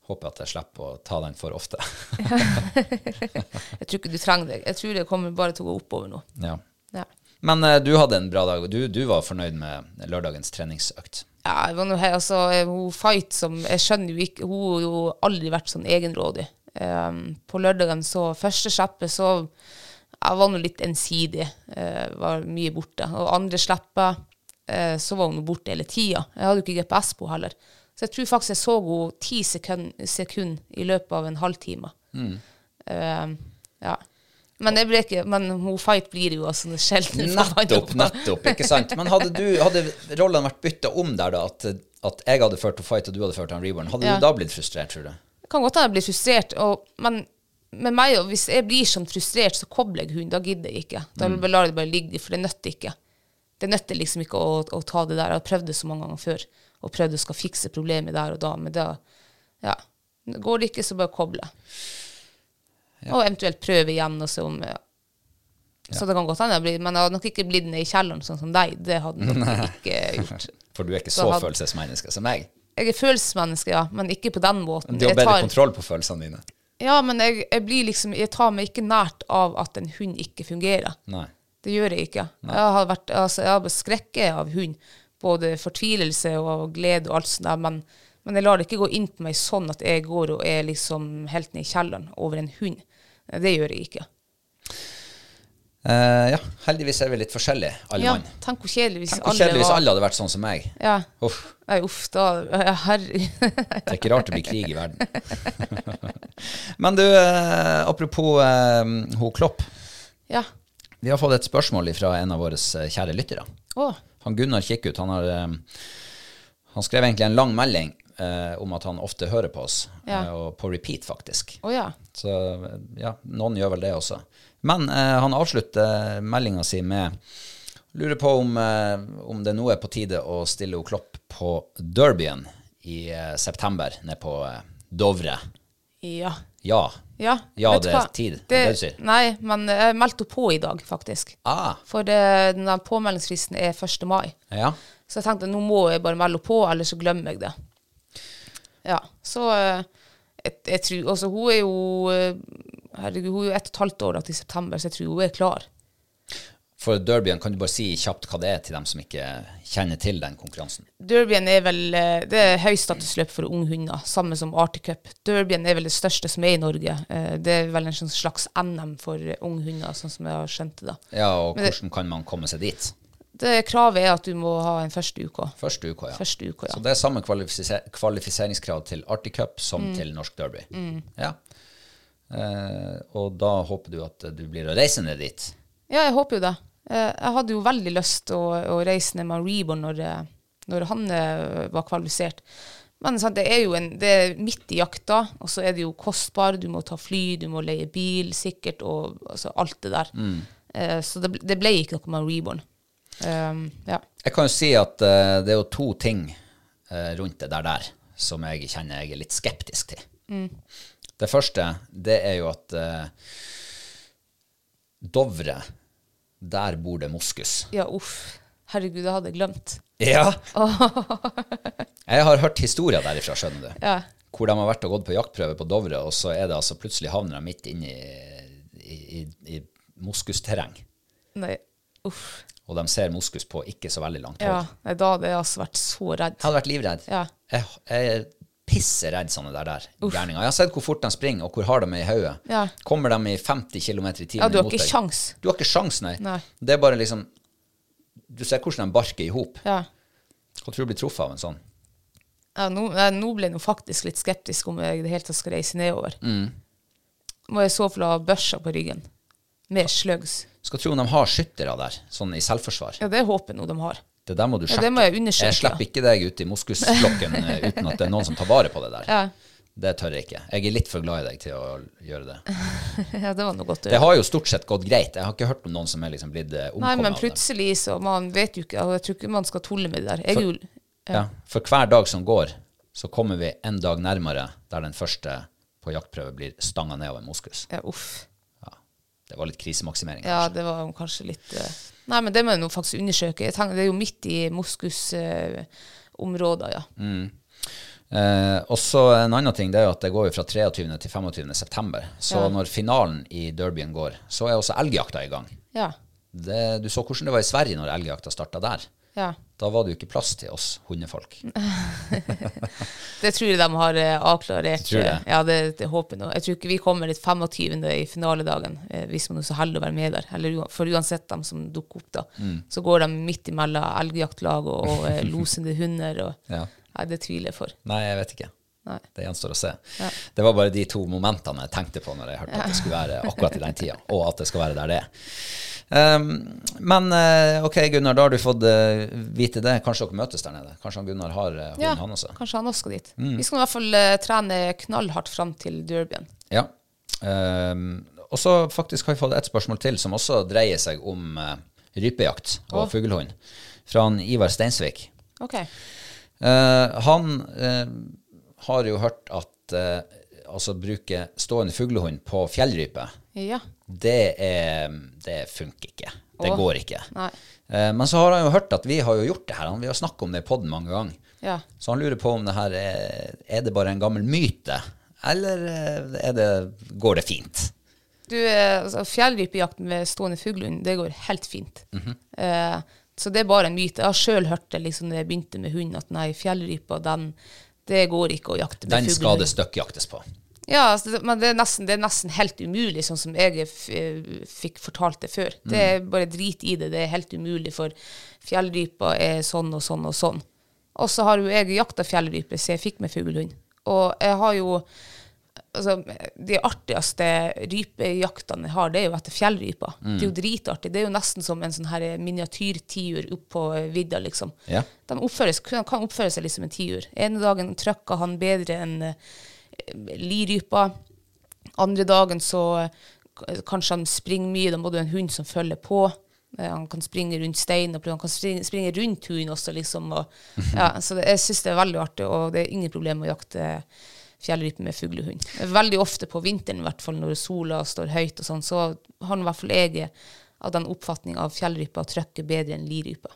håper jeg at jeg slipper å ta den for ofte.
Jeg tror ikke du trenger det. Jeg tror det kommer bare til å gå oppover nå.
ja.
Ja.
Men eh, du hadde en bra dag, og du, du var fornøyd med lørdagens treningsøkt.
Ja, det var noe her, altså, hun fight som Jeg skjønner jo ikke Hun har jo aldri vært sånn egenrådig. Ehm, på lørdagen så Første slippet så Jeg var nå litt ensidig. eh, var mye borte. Og andre slippet eh, så var hun nå borte hele tida. Jeg hadde jo ikke GPS på henne heller. Så jeg tror faktisk jeg så henne ti sekunder sekund i løpet av en halvtime. Ehm, ja. Men, jeg ble ikke, men hun fight blir jo altså sjelden
Nettopp, nettopp. ikke sant? Men hadde, du, hadde rollene vært bytta om der, da, at, at jeg hadde ført til fight og du hadde ført til reborn, hadde
Ja.
du da blitt frustrert, tror du?
Det kan godt hende jeg blir frustrert, og, men med meg, og hvis jeg blir sånn frustrert, så kobler jeg hunden. Da gidder jeg ikke. Da lar jeg det bare ligge, for det nøtter ikke. Det nøtter liksom ikke å, å ta det der. Jeg har prøvd det så mange ganger før, og prøvd å skal fikse problemet der og da, men da ja. Går det ikke, så bare koble. Og eventuelt prøve igjen og se om ja. Så det kan godt hende jeg blir Men jeg hadde nok ikke blitt ned i kjelleren sånn som deg. Det hadde jeg nok ikke gjort.
For du er ikke
Da
så
hadde-
følelsesmenneske som meg.
Jeg er følelsesmenneske, ja, men ikke på den måten.
Du har
Jeg
bedre
tar-
kontroll på følelsene dine.
Ja, men jeg, jeg blir liksom Jeg tar meg ikke nært av at en hund ikke fungerer.
Nei.
Det gjør jeg ikke. Jeg har vært altså, jeg har blitt skrekket av hund. Både fortvilelse og glede og alt sånt der. Men, men jeg lar det ikke gå inn på meg sånn at jeg går og er liksom helt ned i kjelleren over en hund. Det gjør jeg ikke.
Eh, ja, heldigvis er vi litt forskjellige, alle
Ja,
mann.
tenk hvor kjedelig hvis
Tenk hvor
alle
kjedelig hvis
var
alle hadde vært sånn som meg.
ja.
Uff,
Nei, uff, da ja, Herregud.
det er ikke rart det blir krig i verden. Men du, eh, apropos eh, ho Klopp.
Ja.
Vi har fått et spørsmål fra en av våre eh, kjære lyttere.
Å.
Han Gunnar Kikkut han, har, eh, han skrev egentlig en lang melding eh, om at han ofte hører på oss,
Ja.
eh, og på repeat, faktisk.
Å ja.
Så eh, ja, noen gjør vel det også. Men eh, han avslutter meldinga si med Lurer på om, eh, om det nå er på tide å stille o Klopp på derbyen i eh, september, nede på eh, Dovre.
Ja.
Ja.
Ja,
Ja,
vet du
det er
hva?
tid. Det
Det,
er det du sier.
nei, men jeg meldte henne på i dag, faktisk.
Ah,
For det, den der påmeldingsfristen er 1. mai.
ja.
Så jeg tenkte nå må jeg bare melde henne på, eller så glemmer jeg det. Ja, så eh, jeg, jeg tror, altså Hun er jo eh, herregud, hun er jo ett og et halvt år da, til september, så jeg tror hun er klar.
For derbyen, kan du bare si kjapt hva det er til dem som ikke kjenner til den konkurransen?
Derbyen er vel eh, det er høystatusløp for unge hunder, samme som Arctic Cup. Derbyen er vel det største som er i Norge. Eh, Det er vel en sånn slags NM for eh, unge hunder, sånn som jeg har skjønt det. da.
Ja, og
Men det-
hvordan kan man komme seg dit?
Det Kravet er at du må ha en første uke.
Første uka, ja.
Første uka, ja.
Så det er samme kvalifise- kvalifiseringskrav til Arctic Cup som
Mm.
til norsk derby. Ja. Eh, og da håper du at eh, du blir å reise ned dit.
Ja, jeg håper jo det. Eh, Jeg hadde jo veldig lyst å, å reise ned med Reborn når, eh, når han eh, var kvalifisert. Men sant, det er jo en, det er midt i jakta, og så er det jo kostbar. Du må ta fly, du må leie bil sikkert, og altså, alt det der. Eh, Så det, ble- det ble ikke noe med Reborn. Um, ja.
Jeg kan jo si at eh, det er jo to ting eh, rundt det der der som jeg kjenner jeg er litt skeptisk til.
Mm.
Det første, det er jo at eh, Dovre, der bor det moskus.
ja, uff. Herregud, det hadde jeg glemt.
Ja. jeg har hørt historier derifra, skjønner du.
Ja.
Hvor de har vært og gått på jaktprøve på Dovre, og så er det altså plutselig havner de midt inne i, i, i, i moskusterreng.
Nei, uff.
Og de ser moskus på ikke så veldig langt
Ja,
hold.
nei, da hadde jeg altså vært så redd.
Jeg hadde vært livredd.
Ja.
Jeg, jeg er pisseredd sånne der, der gjerninger. Jeg har sett hvor fort de springer, og hvor harde de er i hodet.
Ja.
Kommer de i 50 km i timen
Ja, du har
mot
ikke
deg?
sjans.
Du har ikke sjans, nei.
Nei.
Det er bare liksom Du ser hvordan de barker i hop.
Ja.
Hva tror du blir truffet av en sånn?
Ja, nå, jeg, nå ble jeg nå faktisk litt skeptisk om jeg i det hele tatt skal reise nedover.
Mm.
Må jeg så fall ha børsa på ryggen. Med slugs.
Skal tro om de har skyttere der, sånn i selvforsvar.
Ja, det håper jeg nå de har.
Det der må du
Ja,
sjekke.
det må jeg undersøke,
Jeg slipper
ja.
ikke deg ut i moskusflokken eh, uten at det er noen som tar vare på det der.
Ja,
Det tør jeg ikke. Jeg er litt for glad i deg til å gjøre det.
ja det var noe godt å
Det
gjøre.
har jo stort sett gått greit. Jeg har ikke hørt om noen som er liksom blitt eh,
Nei,
omkommet
men
av det.
plutselig så Man vet jo ikke, og jeg tror ikke man skal tulle med det der. Jeg, er jo-
Ja. For hver dag som går, så kommer vi en dag nærmere der den første på jaktprøve blir stanga ned av en moskus.
ja, uff.
Ja. Det var litt krisemaksimering.
Ja,
kanskje.
det var jo kanskje litt eh, Nei, men det må jeg nå faktisk undersøke. Jeg tenker, det er jo midt i moskusområder, ja.
Mm. Eh, og så en annen ting, det er jo at det går jo fra 23. til 25. september. Så
Ja.
når finalen i derbyen går, så er også elgjakta i gang.
ja.
Det, du så hvordan det var i Sverige når elgjakta starta der.
Ja.
Da var det jo ikke plass til oss hundefolk.
Det tror jeg de har eh, avklarert.
Tror du det?
Ja, det, det håper jeg nå. Jeg tror ikke vi kommer litt 25. i finaledagen, eh, hvis man er så heldig å være med der. Eller, ua- for uansett dem som dukker opp, da,
Mm.
så går de midt imellom elgjaktlag og, og eh, losende hunder. Og,
Ja.
Nei, det tviler jeg for.
Nei, jeg vet ikke.
Nei.
Det gjenstår å se. Det var bare de to momentene jeg tenkte på når jeg hørte at det skulle være akkurat i den tida, og at det skal være der det er. Um, men eh, ok, Gunnar, da har du fått eh, vite det. Kanskje dere møtes der nede? Kanskje han Gunnar har eh, hunden,
Ja,
han Mm. også?
kanskje han også skal dit. Vi skal i hvert fall eh, trene knallhardt fram til derbyen.
Ja. Ehm, og så faktisk har vi fått et spørsmål til som også dreier seg om eh, rypejakt og fuglehund, fra han Ivar Steinsvik.
Ok.
Eh, han eh, har jo hørt at eh, altså bruke stående fuglehund på fjellrype,
Ja.
det, er, det funker ikke. Det
Å.
går ikke.
Nei.
Eh, men så har han jo hørt at vi har jo gjort det her, han- vi har snakket om det i podden mange ganger.
Ja.
Så han lurer på om det her er, er det bare en gammel myte, eller eh, er det, går det fint?
Du, eh, altså, fjellrypejakt med stående fuglehund, det går helt fint. eh, så det er bare en myte. Jeg har sjøl hørt det liksom, når jeg begynte med hund, at nei, fjellrypa, den det går ikke å jakte med
Den skal det støkkjaktes på.
Ja, altså, det- men det er, nesten, det er nesten helt umulig, sånn som jeg f eh, fikk fortalt det før. Det er bare drit i det. Det er helt umulig, for fjellrypa er sånn og sånn og sånn. Og så har jo jeg jakta fjellrype, så jeg fikk meg fuglehund. Og jeg har jo altså, De artigste rypejaktene jeg har, det er jo etter fjellrypa. Det er jo dritartig. Det er jo nesten som en sånn her miniatyrtiur oppå vidda, liksom.
Ja.
De oppføres, kan kan oppføre seg litt som en tiur. Ene dagen trøkka han bedre enn eh, lirypa. Andre dagen så eh, kanskje han springer mye. Da må du ha en hund som følger på. Eh, Han kan springe rundt steinen, og han kan springe, springe rundt hunden også, liksom. Og, ja, så det, jeg syns det er veldig artig, og det er ingen problem å jakte fjellrype med fuglehund. Veldig ofte på vinteren, i hvert fall når sola står høyt og sånn, så har nå i hvert fall jeg av den oppfatning av fjellrypa at trøkket er bedre enn lirypa.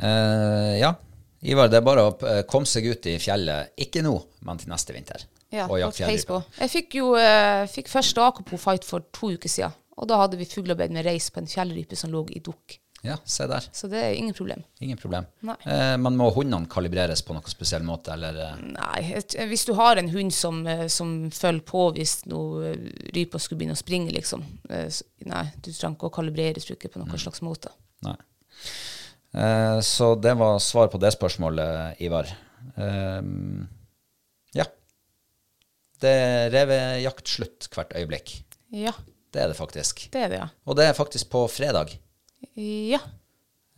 Eh, ja. Ivar, det er bare å eh, komme seg ut i fjellet. Ikke nå, men til neste vinter.
Ja,
og
og
jakte
feis
fjellrype.
på. Jeg fikk jo eh, fikk første AKPO-fight for to uker siden. Og da hadde vi fuglearbeid med reis på en fjellrype som lå i dukk.
Ja, se der.
Så det er ingen problem.
Ingen problem.
Nei.
Eh, men må hundene kalibreres på noen spesiell måte, eller eh,
Nei, et- hvis du har en hund som, eh, som følger på hvis noe eh, rypa skulle begynne å springe, liksom. eh, s- Nei, du trenger ikke å kalibrere trykket på noen slags måte.
Nei. Eh, så det var svar på det spørsmålet, Ivar. Ehm, ja. Det er revejakt slutt hvert øyeblikk.
Ja,
Det er det faktisk.
det er det, ja.
Og det er faktisk på fredag.
Ja.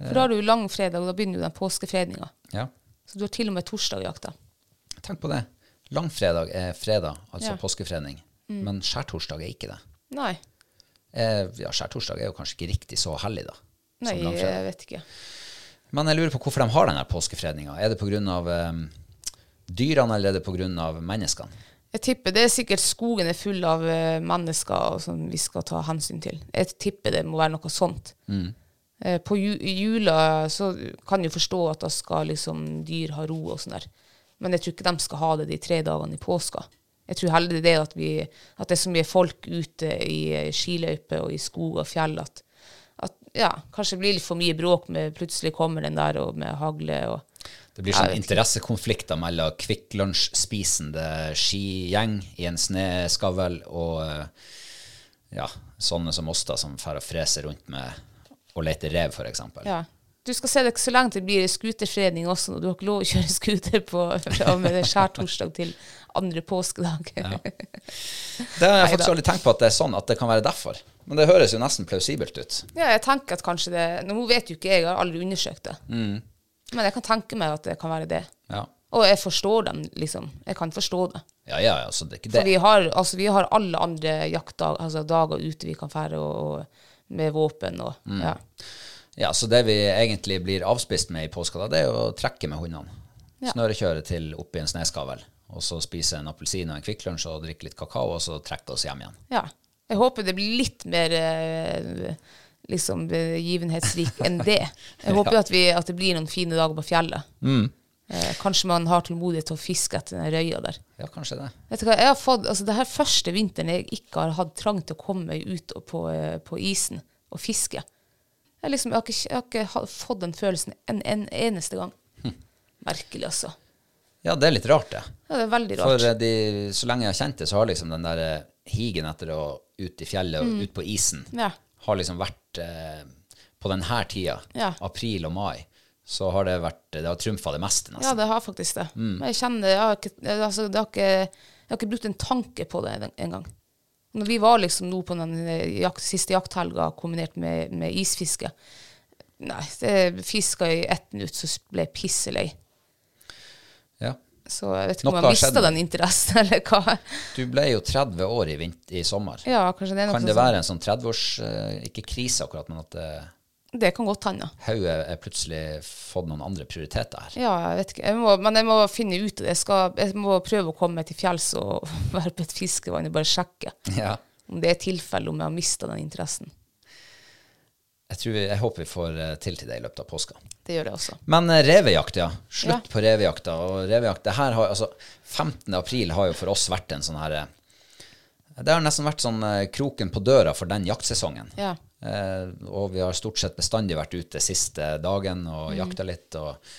For da har du langfredag, og da begynner jo den påskefredninga.
Ja.
Så du har til og med torsdagjakta.
Tenk på det. Langfredag er fredag, altså
Ja. Mm.
påskefredning. Men skjærtorsdag er ikke det.
Nei.
Eh, ja, skjærtorsdag er jo kanskje ikke riktig så hellig, da. som
Nei,
langfredag.
jeg vet ikke.
Men jeg lurer på hvorfor de har den her påskefredninga. Er det pga. Um, dyrene, eller er det pga. menneskene?
Jeg tipper det er sikkert skogen er full av eh, mennesker og som vi skal ta hensyn til. Jeg tipper det må være noe sånt. Eh, På ju i jula så kan jeg forstå at da skal liksom dyr ha ro og sånn der. Men jeg tror ikke de skal ha det de tre dagene i påska. Jeg tror heller det er at, vi, at det er så mye folk ute i eh, skiløyper og i skog og fjell at, at ja, kanskje det blir litt for mye bråk med plutselig kommer den der og med hagle og
Det blir
Jeg
sånn
vet ikke.
interessekonflikter mellom Kvikk Lunsj-spisende skigjeng i en snøskavl og eh, ja, sånne som oss, da, som drar og freser rundt med og leter rev, f.eks.
Ja. Du skal se det så lenge det blir skuterfredning også, og du har ikke lov å kjøre skuter på, fra og med skjærtorsdag til andre påskedag.
Det har jeg faktisk
Neida.
aldri tenkt på at det er sånn, at det kan være derfor. Men det høres jo nesten plausibelt ut.
ja, jeg tenker at kanskje det Nå vet jo ikke jeg, jeg har aldri undersøkt det. Men jeg kan tenke meg at det kan være det.
Ja,
Og jeg forstår den, liksom. Jeg kan forstå det.
ja, ja, ja så det er ikke
For
det.
vi har, altså, vi har alle andre jaktdager altså, dager ute vi kan fære og, og med våpen og ja.
Ja, så det vi egentlig blir avspist med i påska, da, det er jo å trekke med hundene. Snørekjøre til oppi en snøskavl, og så spise en appelsin og en Kvikk Lunsj og drikke litt kakao, og så trekke oss hjem igjen.
Ja. Jeg håper det blir litt mer eh, liksom begivenhetsrik enn det. Jeg håper jo at, vi, at det blir noen fine dager på fjellet.
Mm.
Eh, kanskje man har tålmodighet til å fiske etter den røya der.
Ja, kanskje det.
Vet du hva, jeg har fått, altså Det her første vinteren jeg ikke har hatt trang til å komme meg ut og på, eh, på isen og fiske. Jeg, liksom, jeg, har ikke, jeg har ikke ha- fått den følelsen en, en eneste gang.
Hm.
Merkelig, altså.
Ja, det er litt rart, det.
Ja, det er veldig rart.
For eh, de, så lenge jeg har kjent det, så har liksom den der eh, higen etter å ut i fjellet
Mm.
og ut på isen,
Ja.
har liksom vært eh, På denne tida,
Ja.
april og mai, så har det vært Det har trumfa det meste,
Ja,
nesten.
det har faktisk det.
Mm.
Men jeg kjenner jeg har, ikke, jeg- altså, det har ikke, jeg har ikke brukt en tanke på det en- engang. Når vi var liksom nå på den eh, jakt, siste jakthelga kombinert med, med isfiske Nei, det fiska i ett minutt, så ble jeg pisselei.
Ja.
Så jeg vet ikke
Noe
om jeg
har skjedd.
mista den interessen, eller hva.
Du ble jo 30 år i, vint i sommer.
Ja, kanskje det er noe
Kan det
sånn-
være en sånn 30-års eh, Ikke krise, akkurat, men at eh,
Det kan godt hende.
hodet er plutselig fått noen andre prioriteter her?
Ja, jeg vet ikke. Jeg må, men jeg må finne ut av det. Jeg, skal, jeg må prøve å komme meg til fjells og være på et fiskevann og bare sjekke
Ja.
om det er tilfelle om jeg har mista den interessen.
Jeg, tror vi, jeg håper vi får eh, til til det i løpet av påska.
Det gjør jeg også.
Men eh, revejakt, ja. Slutt
Ja.
på revejakta. Og revejakt, det her har, altså, 15. april har jo for oss vært en sånn her eh, Det har nesten vært sånn eh, kroken på døra for den jaktsesongen.
Ja.
Eh, og vi har stort sett bestandig vært ute siste dagen
Mm.
og jakta litt. Og,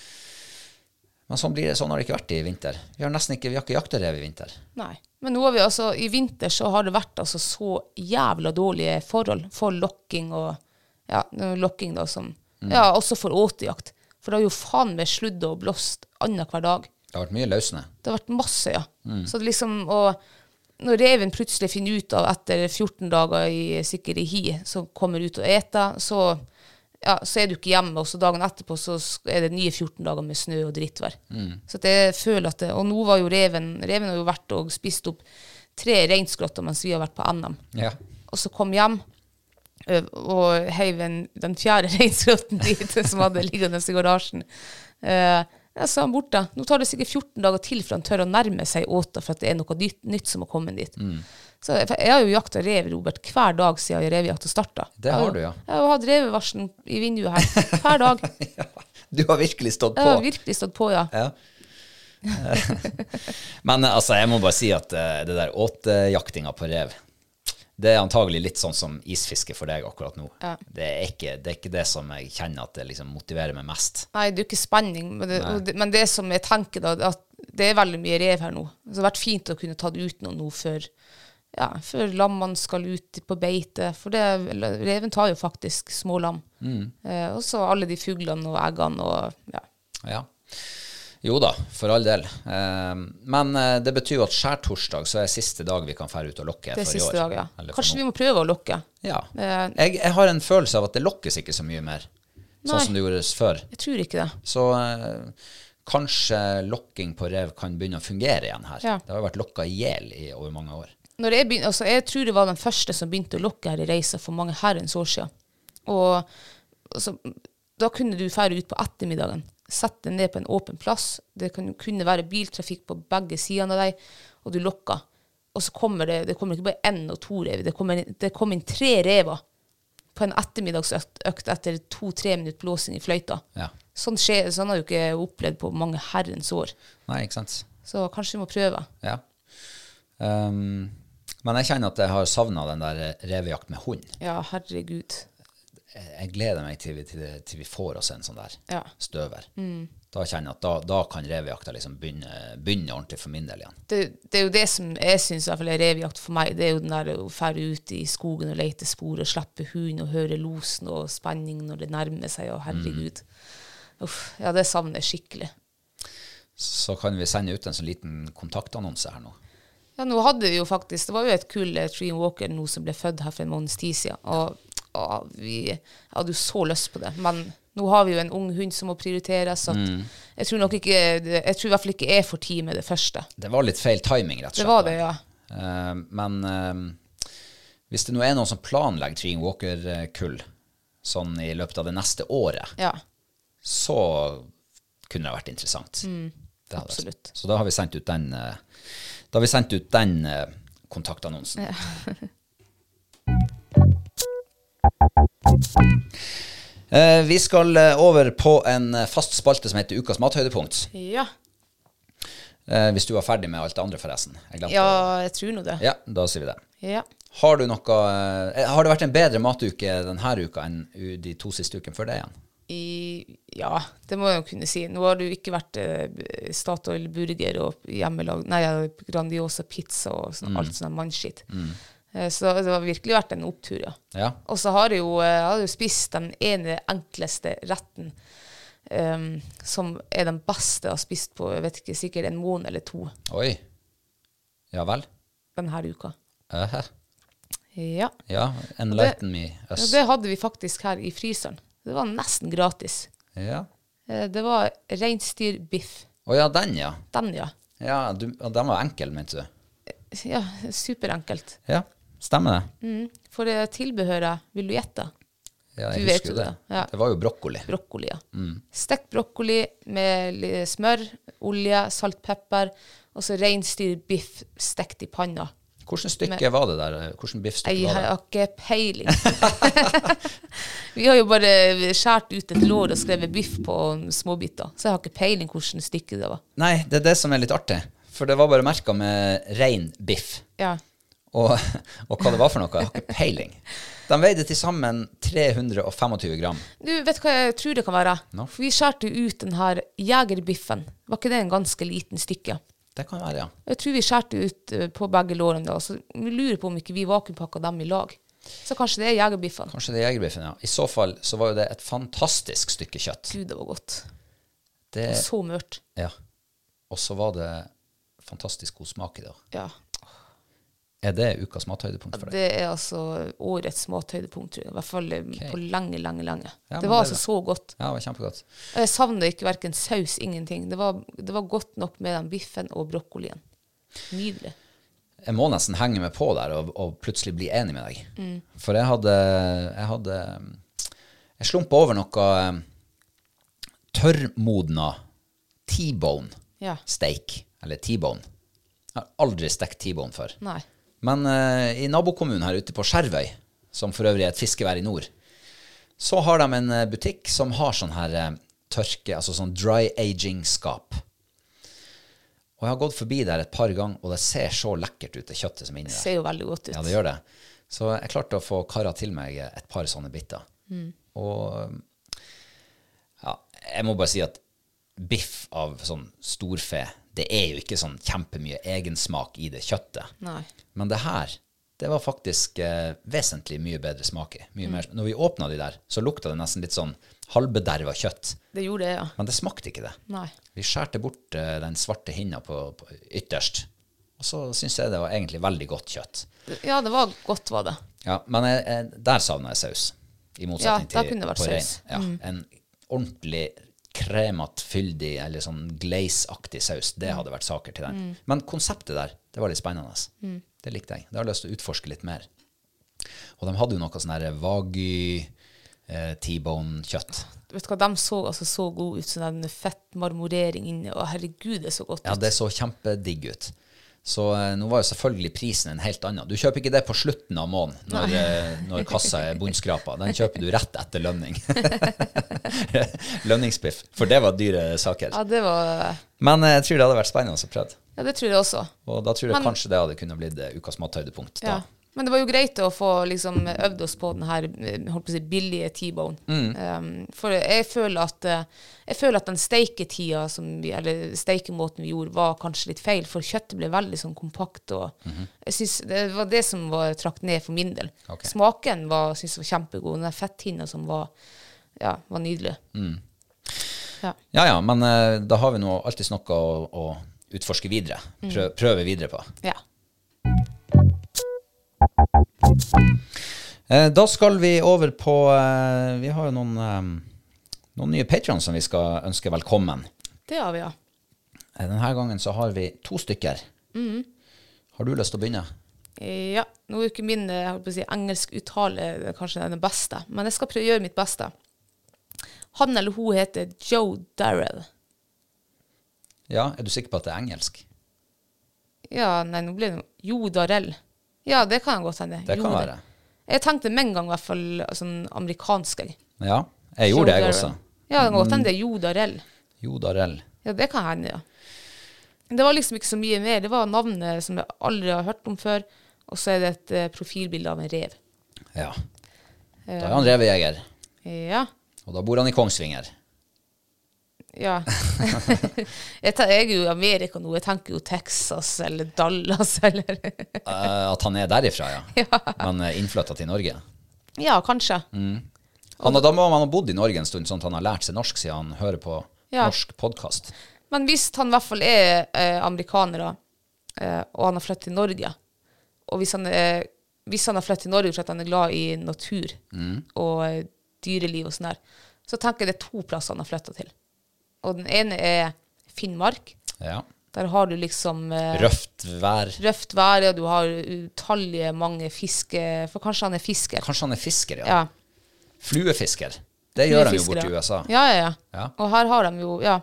men sånn, blir det, sånn har det ikke vært i vinter. Vi har nesten ikke, vi har ikke jakta rev i vinter.
Nei. Men nå har vi altså, i vinter så har det vært altså så jævla dårlige forhold for lokking og ja, nå lokking da som, ja, også for åtejakt. For det har jo faen meg sludd og blåst annenhver dag.
Det har vært mye løsne.
Det har vært masse, ja. Så det liksom, og når reven plutselig finner ut av etter 14 dager i sikkert i hi, som kommer ut og eter, så, ja, så er du ikke hjemme, og så dagen etterpå så sk- er det nye 14 dager med snø og drittvær. Så at jeg føler at det, og nå var jo reven, reven har jo vært og spist opp tre reinsgrotter mens vi har vært på NM.
Ja.
Og så kom hjem ø, og heiv en- den fjerde reinsgrotten dit som hadde liggende i garasjen. Eh, jeg sa han bort da, nå tar det sikkert 14 dager til for han tør å nærme seg åta for at det er noe nytt, nytt som har kommet dit.
Mm.
Så jeg, for jeg har jo jakta rev Robert, hver dag siden revejakta starta.
Det har du, ja.
Jeg har hatt revevarselen i vinduet her hver dag.
Du har virkelig stått
Jeg har
på.
virkelig stått på, ja.
Ja. Men eh, altså, jeg må bare si at eh, det der åtejaktinga på rev, det er antagelig litt sånn som isfiske for deg akkurat nå.
Ja.
Det, er ikke, det er ikke det som jeg kjenner at det liksom motiverer meg mest.
Nei, det er jo ikke spenning, men det, og det, men det som jeg tenker da, det er at det er veldig mye rev her nå. Så det har vært fint å kunne ta det ut noe nå før, ja, før lammene skal ut på beite. For det, reven tar jo faktisk små lam. Eh, og så alle de fuglene og eggene og ja.
Mm. Ja. Jo da, for all del. Eh, Men eh, det betyr jo at skjærtorsdag så er siste dag vi kan fære ut og lokke
Det er
for i år.
siste dag, ja.
Eller for
Kanskje
nå.
vi må prøve å lokke.
Ja.
Eh,
Jeg, jeg har en følelse av at det lokkes ikke så mye mer,
Nei.
sånn som det gjordes før.
Jeg tror ikke det.
Så eh, kanskje lokking på rev kan begynne å fungere igjen her.
Ja.
Det har jo vært lokka i hjel i over mange år.
når jeg, begyn- altså jeg tror det var den første som begynte å lokke her i reisa for mange herrens år siden. Og altså, da kunne du fære ut på ettermiddagen, sette deg ned på en åpen plass, det kan, kunne være biltrafikk på begge sidene av deg, og du lokka. Og så kommer det, det kommer ikke bare én og to rev, det kommer, det kommer inn tre rever på en ettermiddagsøkt etter to-tre minutter blåsing i fløyta.
Ja.
Sånn, skjer, sånn har jeg jo ikke jeg opplevd på mange herrens år.
Nei, ikke sant?
Så kanskje vi må prøve.
Ja. Ehm, men jeg kjenner at jeg har savna den der eh, revejakt med hund.
Ja, herregud.
Jeg jeg gleder meg til vi, til, det- til vi får oss en sånn der
Ja. Mm.
støver. Da kjenner jeg at da, da kan revejakta liksom begynne, begynne ordentlig for min del igjen.
det, det er jo det som jeg syns er revejakt for meg. Det er jo den der å fære ut i skogen og lete spor og slippe hunden og høre losen og spenning når det nærmer seg, og herregud. Uff, ja, det savner jeg skikkelig.
Så kan vi sende ut en sånn liten kontaktannonse her nå.
Ja, nå hadde vi jo faktisk Det var jo et kull eh, Tree Walker nå som ble født her for en måneds tid siden, og, og vi jeg hadde jo så lyst på det. Men nå har vi jo en ung hund som må prioriteres, så at jeg tror nok ikke Jeg tror i hvert fall ikke jeg får tid med det første.
Det var litt feil timing, rett og
Det
slett.
var det, ja.
Eh, men eh, hvis det nå er noen som planlegger Treeing Walker-kull sånn i løpet av det neste året,
ja.
så kunne det vært interessant. Det hadde vært.
Mm, absolutt.
Så da har vi sendt ut den, eh, da har vi sendt ut den eh, kontaktannonsen. Eh, vi skal eh, over på en eh, fast spalte som heter Ukas mathøydepunkt.
Ja.
Eh, hvis du var ferdig med alt det andre, forresten. Jeg glemte
Ja,
det.
jeg tror nå det.
ja, da sier vi det.
Ja.
Har, du noe, eh, har det vært en bedre matuke denne uka enn u- de to siste ukene før det igjen?
I, ja, det må jeg jo kunne si. Nå har du ikke vært eh, Statoil burger og hjemmelag Nei, ja, Grandiosa pizza og sånn, alt sånn mannskitt. Eh, så det har virkelig vært en opptur, ja.
Ja.
Og så har jeg jo, eh, jeg har jo spist den ene enkleste retten eh, som er den beste jeg har spist på jeg vet ikke, sikkert en måned eller to
Oi. Ja vel.
denne uka.
Ehe.
Ja.
Ja, enlighten me
ja,
us.
det hadde vi faktisk her i fryseren. Det var nesten gratis.
Ja.
Eh, det var reinsdyrbiff.
Å ja, den, ja.
Den, ja.
ja du, og den var enkel, mente du?
Ja, superenkelt.
Ja, stemmer det.
Mm. For det tilbehøret, vil du gjette?
Ja,
Du
jeg
vet
husker jo
jo
det.
det, ja.
Det var jo brokkoli.
Brokkoli, ja. Stekt brokkoli med li- smør, olje, salt, pepper, og så reinsdyrbiff stekt i panna.
Hvordan stykke var det der? Hvordan biffstykke
Jeg
var det?
har ikke peiling. Vi har jo bare skåret ut et lår og skrevet biff på småbiter, så jeg har ikke peiling hvordan stykke det var.
Nei, det er det som er litt artig. For det var bare merka med rein biff.
Ja.
Og, og hva det var for noe, jeg har ikke peiling. De veide til sammen 325 gram.
Du, vet hva jeg tror det kan være?
No.
For vi skjærte jo ut den her jegerbiffen. Var ikke det en ganske liten stykke?
Det kan være, ja.
Jeg tror vi skjærte ut eh, på begge lårene da, så vi lurer på om ikke vi vakuumpakka dem i lag. Så kanskje det er jegerbiffene.
Kanskje det er jegerbiffen, ja. I så fall så var jo det et fantastisk stykke kjøtt.
Gud, det var godt.
Det,
Så mørt.
ja. Og så var det fantastisk god smak i det.
Ja.
Er det ukas mathøydepunkt for deg?
Det er altså årets mathøydepunkt, tror jeg. I hvert fall eh, på lenge, lenge, lenge.
Ja, men
det var
det er
altså så godt.
Ja, det var kjempegodt.
Og Jeg savner ikke verken saus, ingenting. Det var, det var godt nok med den biffen og brokkolien. Nydelig.
jeg må nesten henge meg på der og, og plutselig bli enig med deg.
Mm.
For jeg hadde Jeg, hadde, jeg slumpa over noe eh, tørrmodna T-bone
Ja.
steak. Eller T-bone. Jeg har aldri stekt T-bone før.
Nei.
Men eh, i nabokommunen her ute på Skjervøy, som for øvrig er et fiskevær i nord, så har de en eh, butikk som har sånn her eh, tørke, altså sånn dry aging-skap. Og jeg har gått forbi der et par ganger, og det ser så lekkert ut, det kjøttet som er inni
Det
der.
ser jo veldig godt ut.
Ja, det gjør det. Så jeg klarte å få kara til meg et par sånne biter. Og ja, jeg må bare si at biff av sånn storfe, det er jo ikke sånn kjempemye egensmak i det kjøttet.
Nei.
Men det her, det var faktisk eh, vesentlig mye bedre smak i. Mye mer- Når vi åpna de der, så lukta det nesten litt sånn halvbederva kjøtt.
Det gjorde det, ja.
Men det smakte ikke det.
Nei.
Vi skjærte bort eh, den svarte hinna på, på ytterst. Og så syns jeg det var egentlig veldig godt kjøtt.
Ja, det var godt, var det.
Ja, men jeg, jeg, der savna jeg saus. I motsetning
Ja, der
til
kunne det vært
på rein.
saus. Mm.
Ja, En ordentlig kremete, fyldig eller sånn glaze-aktig saus. Det
Mm.
hadde vært saker til den. Men konseptet der, det var litt spennende.
Mm.
Det likte jeg. Det har jeg lyst til å utforske litt mer. Og de hadde jo noe sånn her wagyu, eh, T-bone-kjøtt.
Vet du hva, De så altså så gode ut, sånn den fett marmorering inni. Å, herregud, det så godt
Ja,
ut.
det så kjempedigg ut. Så eh, nå var jo selvfølgelig prisen en helt annen. Du kjøper ikke det på slutten av måneden når, eh, når kassa er bunnskrapa. Den kjøper du rett etter lønning. Lønningsbiff. For det var dyre saker.
Ja, det var
Men eh, jeg tror det hadde vært spennende å prøve.
Ja, det tror jeg også.
Og da tror jeg
Men-
kanskje det hadde kunnet blitt eh, ukas mathøydepunkt.
Ja.
Da.
Men det var jo greit å få liksom, øvd oss på den her eh, holdt på å si, billige T-bone.
Mm.
Um, for jeg føler at, eh, jeg føler at den steiketida, som vi, eller steikemåten vi gjorde, var kanskje litt feil, for kjøttet ble veldig sånn kompakt. Og jeg synes Det var det som var trakt ned for min del.
Mhm. Ok.
Smaken var, synes jeg var kjempegod. Den der fetthinna som var, ja, var nydelig.
Mm.
Ja.
Ja ja, men eh, da har vi nå alltids noe å, å utforske videre.
Mm.
Prø prøve videre på.
ja.
Eh, Da skal vi over på eh, Vi har jo noen, eh, noen nye patrons som vi skal ønske velkommen.
Det har vi, ja.
Eh, Denne gangen så har vi to stykker.
Mm.
Har du lyst til å begynne?
Ja, nå er jo ikke min eh, jeg holdt på å si, engelsk uttale eh, kanskje den beste, men jeg skal prøve å gjøre mitt beste. Han eller hun heter Joe Darrell.
Ja, Er du sikker på at det er engelsk?
Ja, nei, nå blir det noe. Jo Darrell. Ja, det kan godt hende.
Det kan
Jo Darrell.
være.
Jeg tenkte med en gang i hvert fall sånn amerikansk. Jeg,
Ja, jeg gjorde det,
Joe
jeg
Darrell.
også. Mm.
Ja, det kan godt hende det er Jo Darrell.
Jo, Darell.
Ja, det kan hende, ja. Det var liksom ikke så mye mer. Det var navnet som jeg aldri har hørt om før, og så er det et eh, profilbilde av en rev.
Ja.
Eh.
Da er han revejeger,
Ja.
og da bor han i Kongsvinger.
Ja. jeg, tar, jeg er jo i Amerika nå. Jeg tenker jo Texas eller Dallas eller
Eh, at han er derifra, ja. Men uh, innflytta til Norge.
Ja, kanskje.
Han, da må han ha bodd i Norge en stund, sånn at han har lært seg norsk siden han hører på
Ja.
norsk podkast.
Men hvis han i hvert fall er eh, amerikaner, da, eh, og han har flyttet til Norge Og hvis han, er, hvis han har flyttet til Norge fordi han er glad i natur og eh, dyreliv og sånn der, så tenker jeg det er to plasser han har flytta til. Og den ene er Finnmark.
Ja.
Der har du liksom eh,
Røft vær.
røft vær, og du har utallige mange fiske... For kanskje han er fisker.
Kanskje han er fisker, ja.
Ja.
Fluefisker. Det gjør han jo borti
Fiskere.
USA.
Ja, ja, ja,
Ja.
Og her har de jo Ja.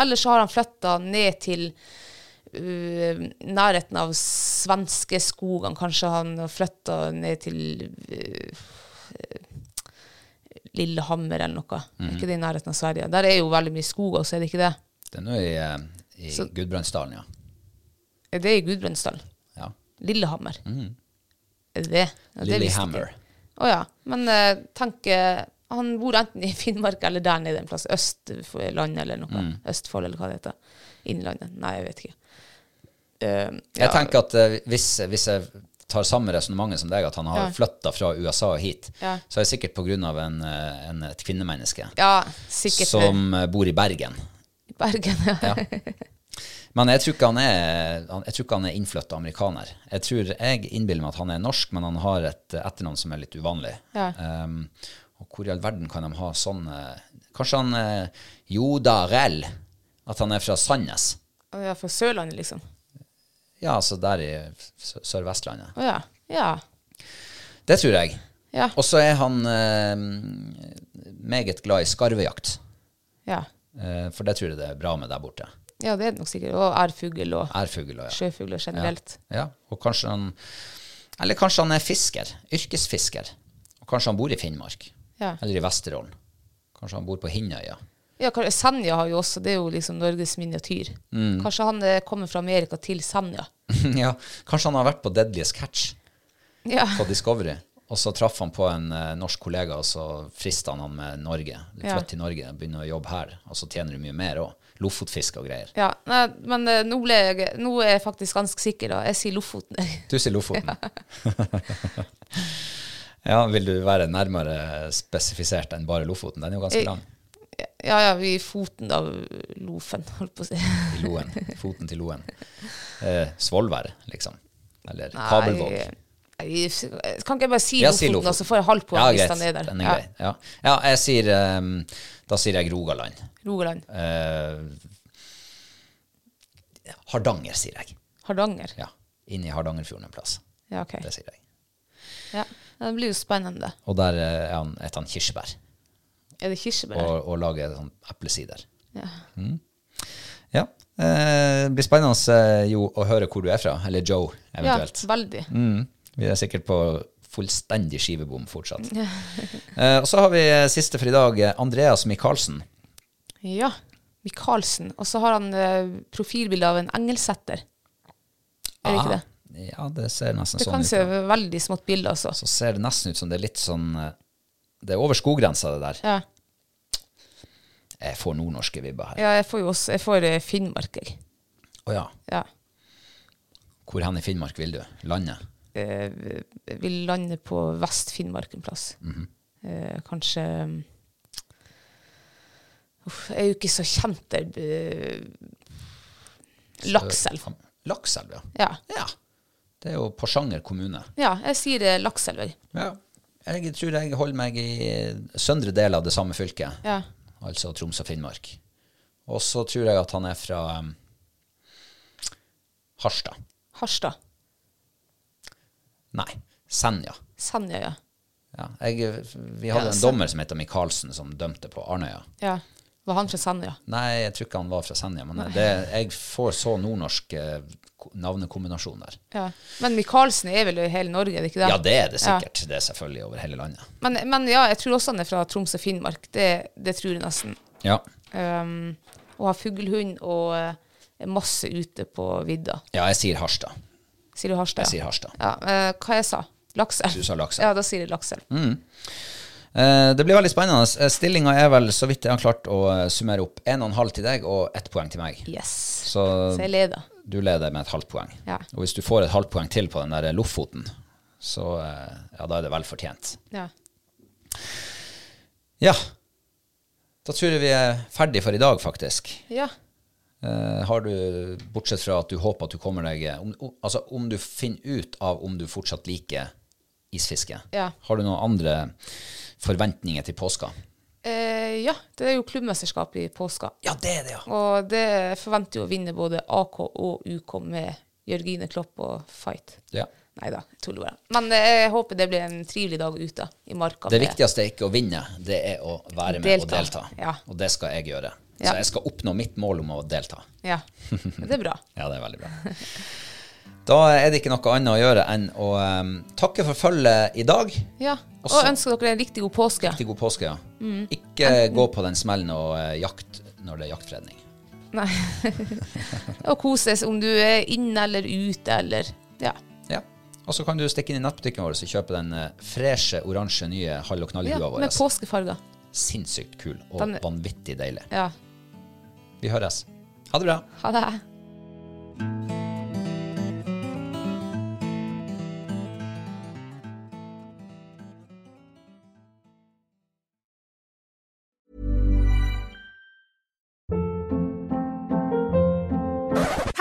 Ellers så har han flytta ned til uh, nærheten av svenskeskogene. Kanskje han har flytta ned til uh, Lillehammer eller noe.
Mhm.
Er Ikke det i nærheten av Sverige. Der er jo veldig mye skog også, er det ikke det?
Det er nå i, eh, i
Så-
Gudbrandsdalen, ja.
Er det i Gudbrandsdalen?
ja.
Lillehammer. Er det det? Ja, det visste ikke jeg.
Mm. Lillehammer.
Å ja. Men eh, tenk eh, Han bor enten i Finnmark eller der nede en plass. Østlandet eller noe.
Mm.
Østfold eller hva det heter. Innlandet. Nei, jeg vet ikke. Eh, ja.
Jeg tenker at eh, hvis, hvis jeg tar samme resonnement som deg, at han har
Ja.
flytta fra USA og hit,
Ja.
så er det sikkert pga. En, eh, en, et kvinnemenneske
ja, sikkert
som eh, bor i Bergen.
i Bergen. Ja.
Men jeg tror ikke han er, han- jeg tror ikke han er innflytta amerikaner. Jeg tror jeg innbiller meg at han er norsk, men han har et eh, etternavn som er litt uvanlig.
Ja.
Ehm, og hvor i all verden kan de ha sånn eh, Kanskje han eh, Joda Rell? At han er fra Sandnes?
ja, fra Sørlandet, liksom.
Ja, altså der i Sø- Sør-Vestlandet.
Å ja. Ja.
Det tror jeg.
Ja.
Og så er han eh, meget glad i skarvejakt.
ja.
Eh, for det tror jeg det er bra med der borte.
ja, det er det nok sikkert. Og ærfugl og
Ærfugl og ja.
sjøfugler generelt.
Ja, og kanskje han Eller kanskje han er fisker. Yrkesfisker. Og kanskje han bor i Finnmark.
Ja.
Eller i Vesterålen. Kanskje han bor på Hinnøya.
Ja, kan- Senja har jo også, det er jo liksom Norges miniatyr.
Mm.
Kanskje han eh, kommer fra Amerika til Senja.
ja, kanskje han har vært på Deadliest Catch
Ja.
på Discovery. Og så traff han på en eh, norsk kollega, og så frista han han med Norge.
Ja.
Flytt til Norge, begynne å jobbe her. Og så tjener du mye mer òg. Lofotfiske og greier.
Ja, nei, men eh, nå, ble jeg, nå er jeg faktisk ganske sikker. da. Jeg sier Lofoten.
Du sier Lofoten. Ja. vil du være nærmere spesifisert enn bare Lofoten? Den er jo ganske
Jeg-
lang.
Ja, ja, vi er i foten av Lofen, holdt på å si.
til Loen. Foten til Loen. Eh, Svolvær, liksom. Eller
Nei,
Kabelvåg.
nei, jeg- Kan ikke jeg bare si
Jeg
Lofoten,
sier
og så får jeg halvt poeng
Ja,
hvis
greit.
han er der?
Den er grei. Ja. ja, jeg sier ehm, Da sier jeg Rogaland.
Rogaland.
Eh, Hardanger, sier jeg.
Hardanger.
Ja. Inn i Hardangerfjorden en plass.
Ja, ok.
Det sier jeg.
Ja. Ja, Det blir jo spennende.
Og der eh, er han et han kirsebær
Er det kirsebær?
og,
der?
og lager sånn eplesider.
Ja.
Ja. Eh, det blir spennende eh, jo å høre hvor du er fra, eller Joe
ja,
eventuelt.
veldig.
Mm. Vi er sikkert på fullstendig skivebom fortsatt. Eh, og så har vi eh, siste for i dag, eh, Andreas Michaelsen.
Ja. Michaelsen. Og så har han eh, profilbilde av en engelsetter. Er det ikke det?
Ah, Ja, det ser nesten
Det
sånn
kan
ut.
se
ja.
veldig smått bilde, altså.
Så ser det nesten ut som det er litt sånn eh, Det er over skoggrensa, det der.
Ja.
Jeg får nordnorske vibber her. Å ja.
ja, jeg får jo også Jeg får eh, Finnmark, jeg. Ja.
Hvor hen i Finnmark vil du? Landet?
eh, vi lander på Vest-Finnmark en plass.
Mhm.
eh, kanskje um, Uff, jeg er jo ikke så kjent der. eh, Lakselv.
Ham- Lakselv, ja.
Ja.
ja. Det er jo Porsanger kommune.
ja, jeg sier eh, Lakselv. jeg.
Ja. Jeg tror jeg holder meg i eh, søndre del av det samme fylket.
Ja.
altså Troms og Finnmark. Og så tror jeg at han er fra um, Harstad.
Harstad.
Nei, Senja.
Senja, ja.
Ja, jeg, vi hadde
Ja,
en
Sen-
dommer som heter Michaelsen, som dømte på Arnøya.
ja. Var han fra Senja?
Nei, jeg tror ikke han var fra Senja, men det, jeg får så nordnorsk eh, ko- navnekombinasjon der.
Ja. Men Michaelsen er vel i hele Norge, er det ikke det?
Ja, det er det
Ja.
sikkert. Det er selvfølgelig over hele landet.
Men, men ja, jeg tror også han er fra Troms og Finnmark. Det, det tror jeg nesten.
Ja.
Um, og har Ehm, fuglehund og eh, masse ute på vidda.
Ja, jeg sier Harstad.
Sier du Harstad?
Jeg sier Harstad.
Ja, eh, hva jeg sa? Lakselv.
Du sa Lakselv. Mm.
Ja, da sier jeg Lakselv.
Eh, Det blir veldig spennende. Stillinga er vel, så vidt jeg har klart å eh, summere opp, 1,5 til deg og ett poeng til meg.
Yes.
Så
Så jeg leder.
du leder med et halvt poeng.
Ja.
Og hvis du får et halvt poeng til på den der Lofoten, så eh, ja, da er det vel fortjent.
Ja.
Ja. Da tror jeg vi er ferdig for i dag, faktisk.
ja.
Eh, har du, bortsett fra at du håper at du kommer deg eh, om, om, Altså om du finner ut av om du fortsatt liker isfiske,
Ja.
har du noen andre forventninger til påska?
Eh, ja, det er jo klubbmesterskap i påska.
Ja, det er det, ja.
Og det forventer jo å vinne både AK og UK med Jørgine Klopp og Fight.
ja.
Nei da, jeg tuller bare. Men eh, jeg håper det blir en trivelig dag ute i marka.
Det
med-
viktigste er ikke å vinne, det er å være med og
Delta.
delta.
Ja.
Og det skal jeg gjøre.
Ja.
Så jeg skal oppnå mitt mål om å delta.
Ja, det er bra.
Ja, det er veldig bra. Da er det ikke noe annet å gjøre enn å eh, takke for følget i dag.
Ja,
Og
Og
så-
ønsker dere en riktig god påske.
Riktig god påske, ja.
Mm.
Ikke gå på den smellen og eh, jakt når det er jaktfredning.
Nei. og koses om du er inne eller ute eller Ja.
Ja. Og så kan du stikke inn i nettbutikken vår og kjøpe den eh, freshe, oransje, nye halv- og
ja
knallhua vår.
med påskefarger.
Sinnssykt kul og
Den-
vanvittig deilig.
Ja.
Vi høres. Ha det bra.
Ha det.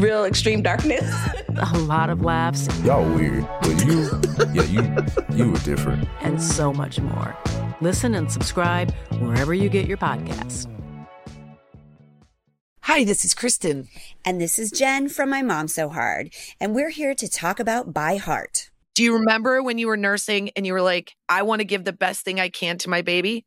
real extreme darkness.
a lot of laughs,
Y'all weird, but you, yeah, you, you were different.
and so much more. Listen and subscribe wherever you get your podcasts.
Hi, this is Kristen.
And this is Jen from My Mom So Hard, and we're here to talk about By Heart.
Do you remember when you were nursing and you were like, I want to give the best thing I can to my baby?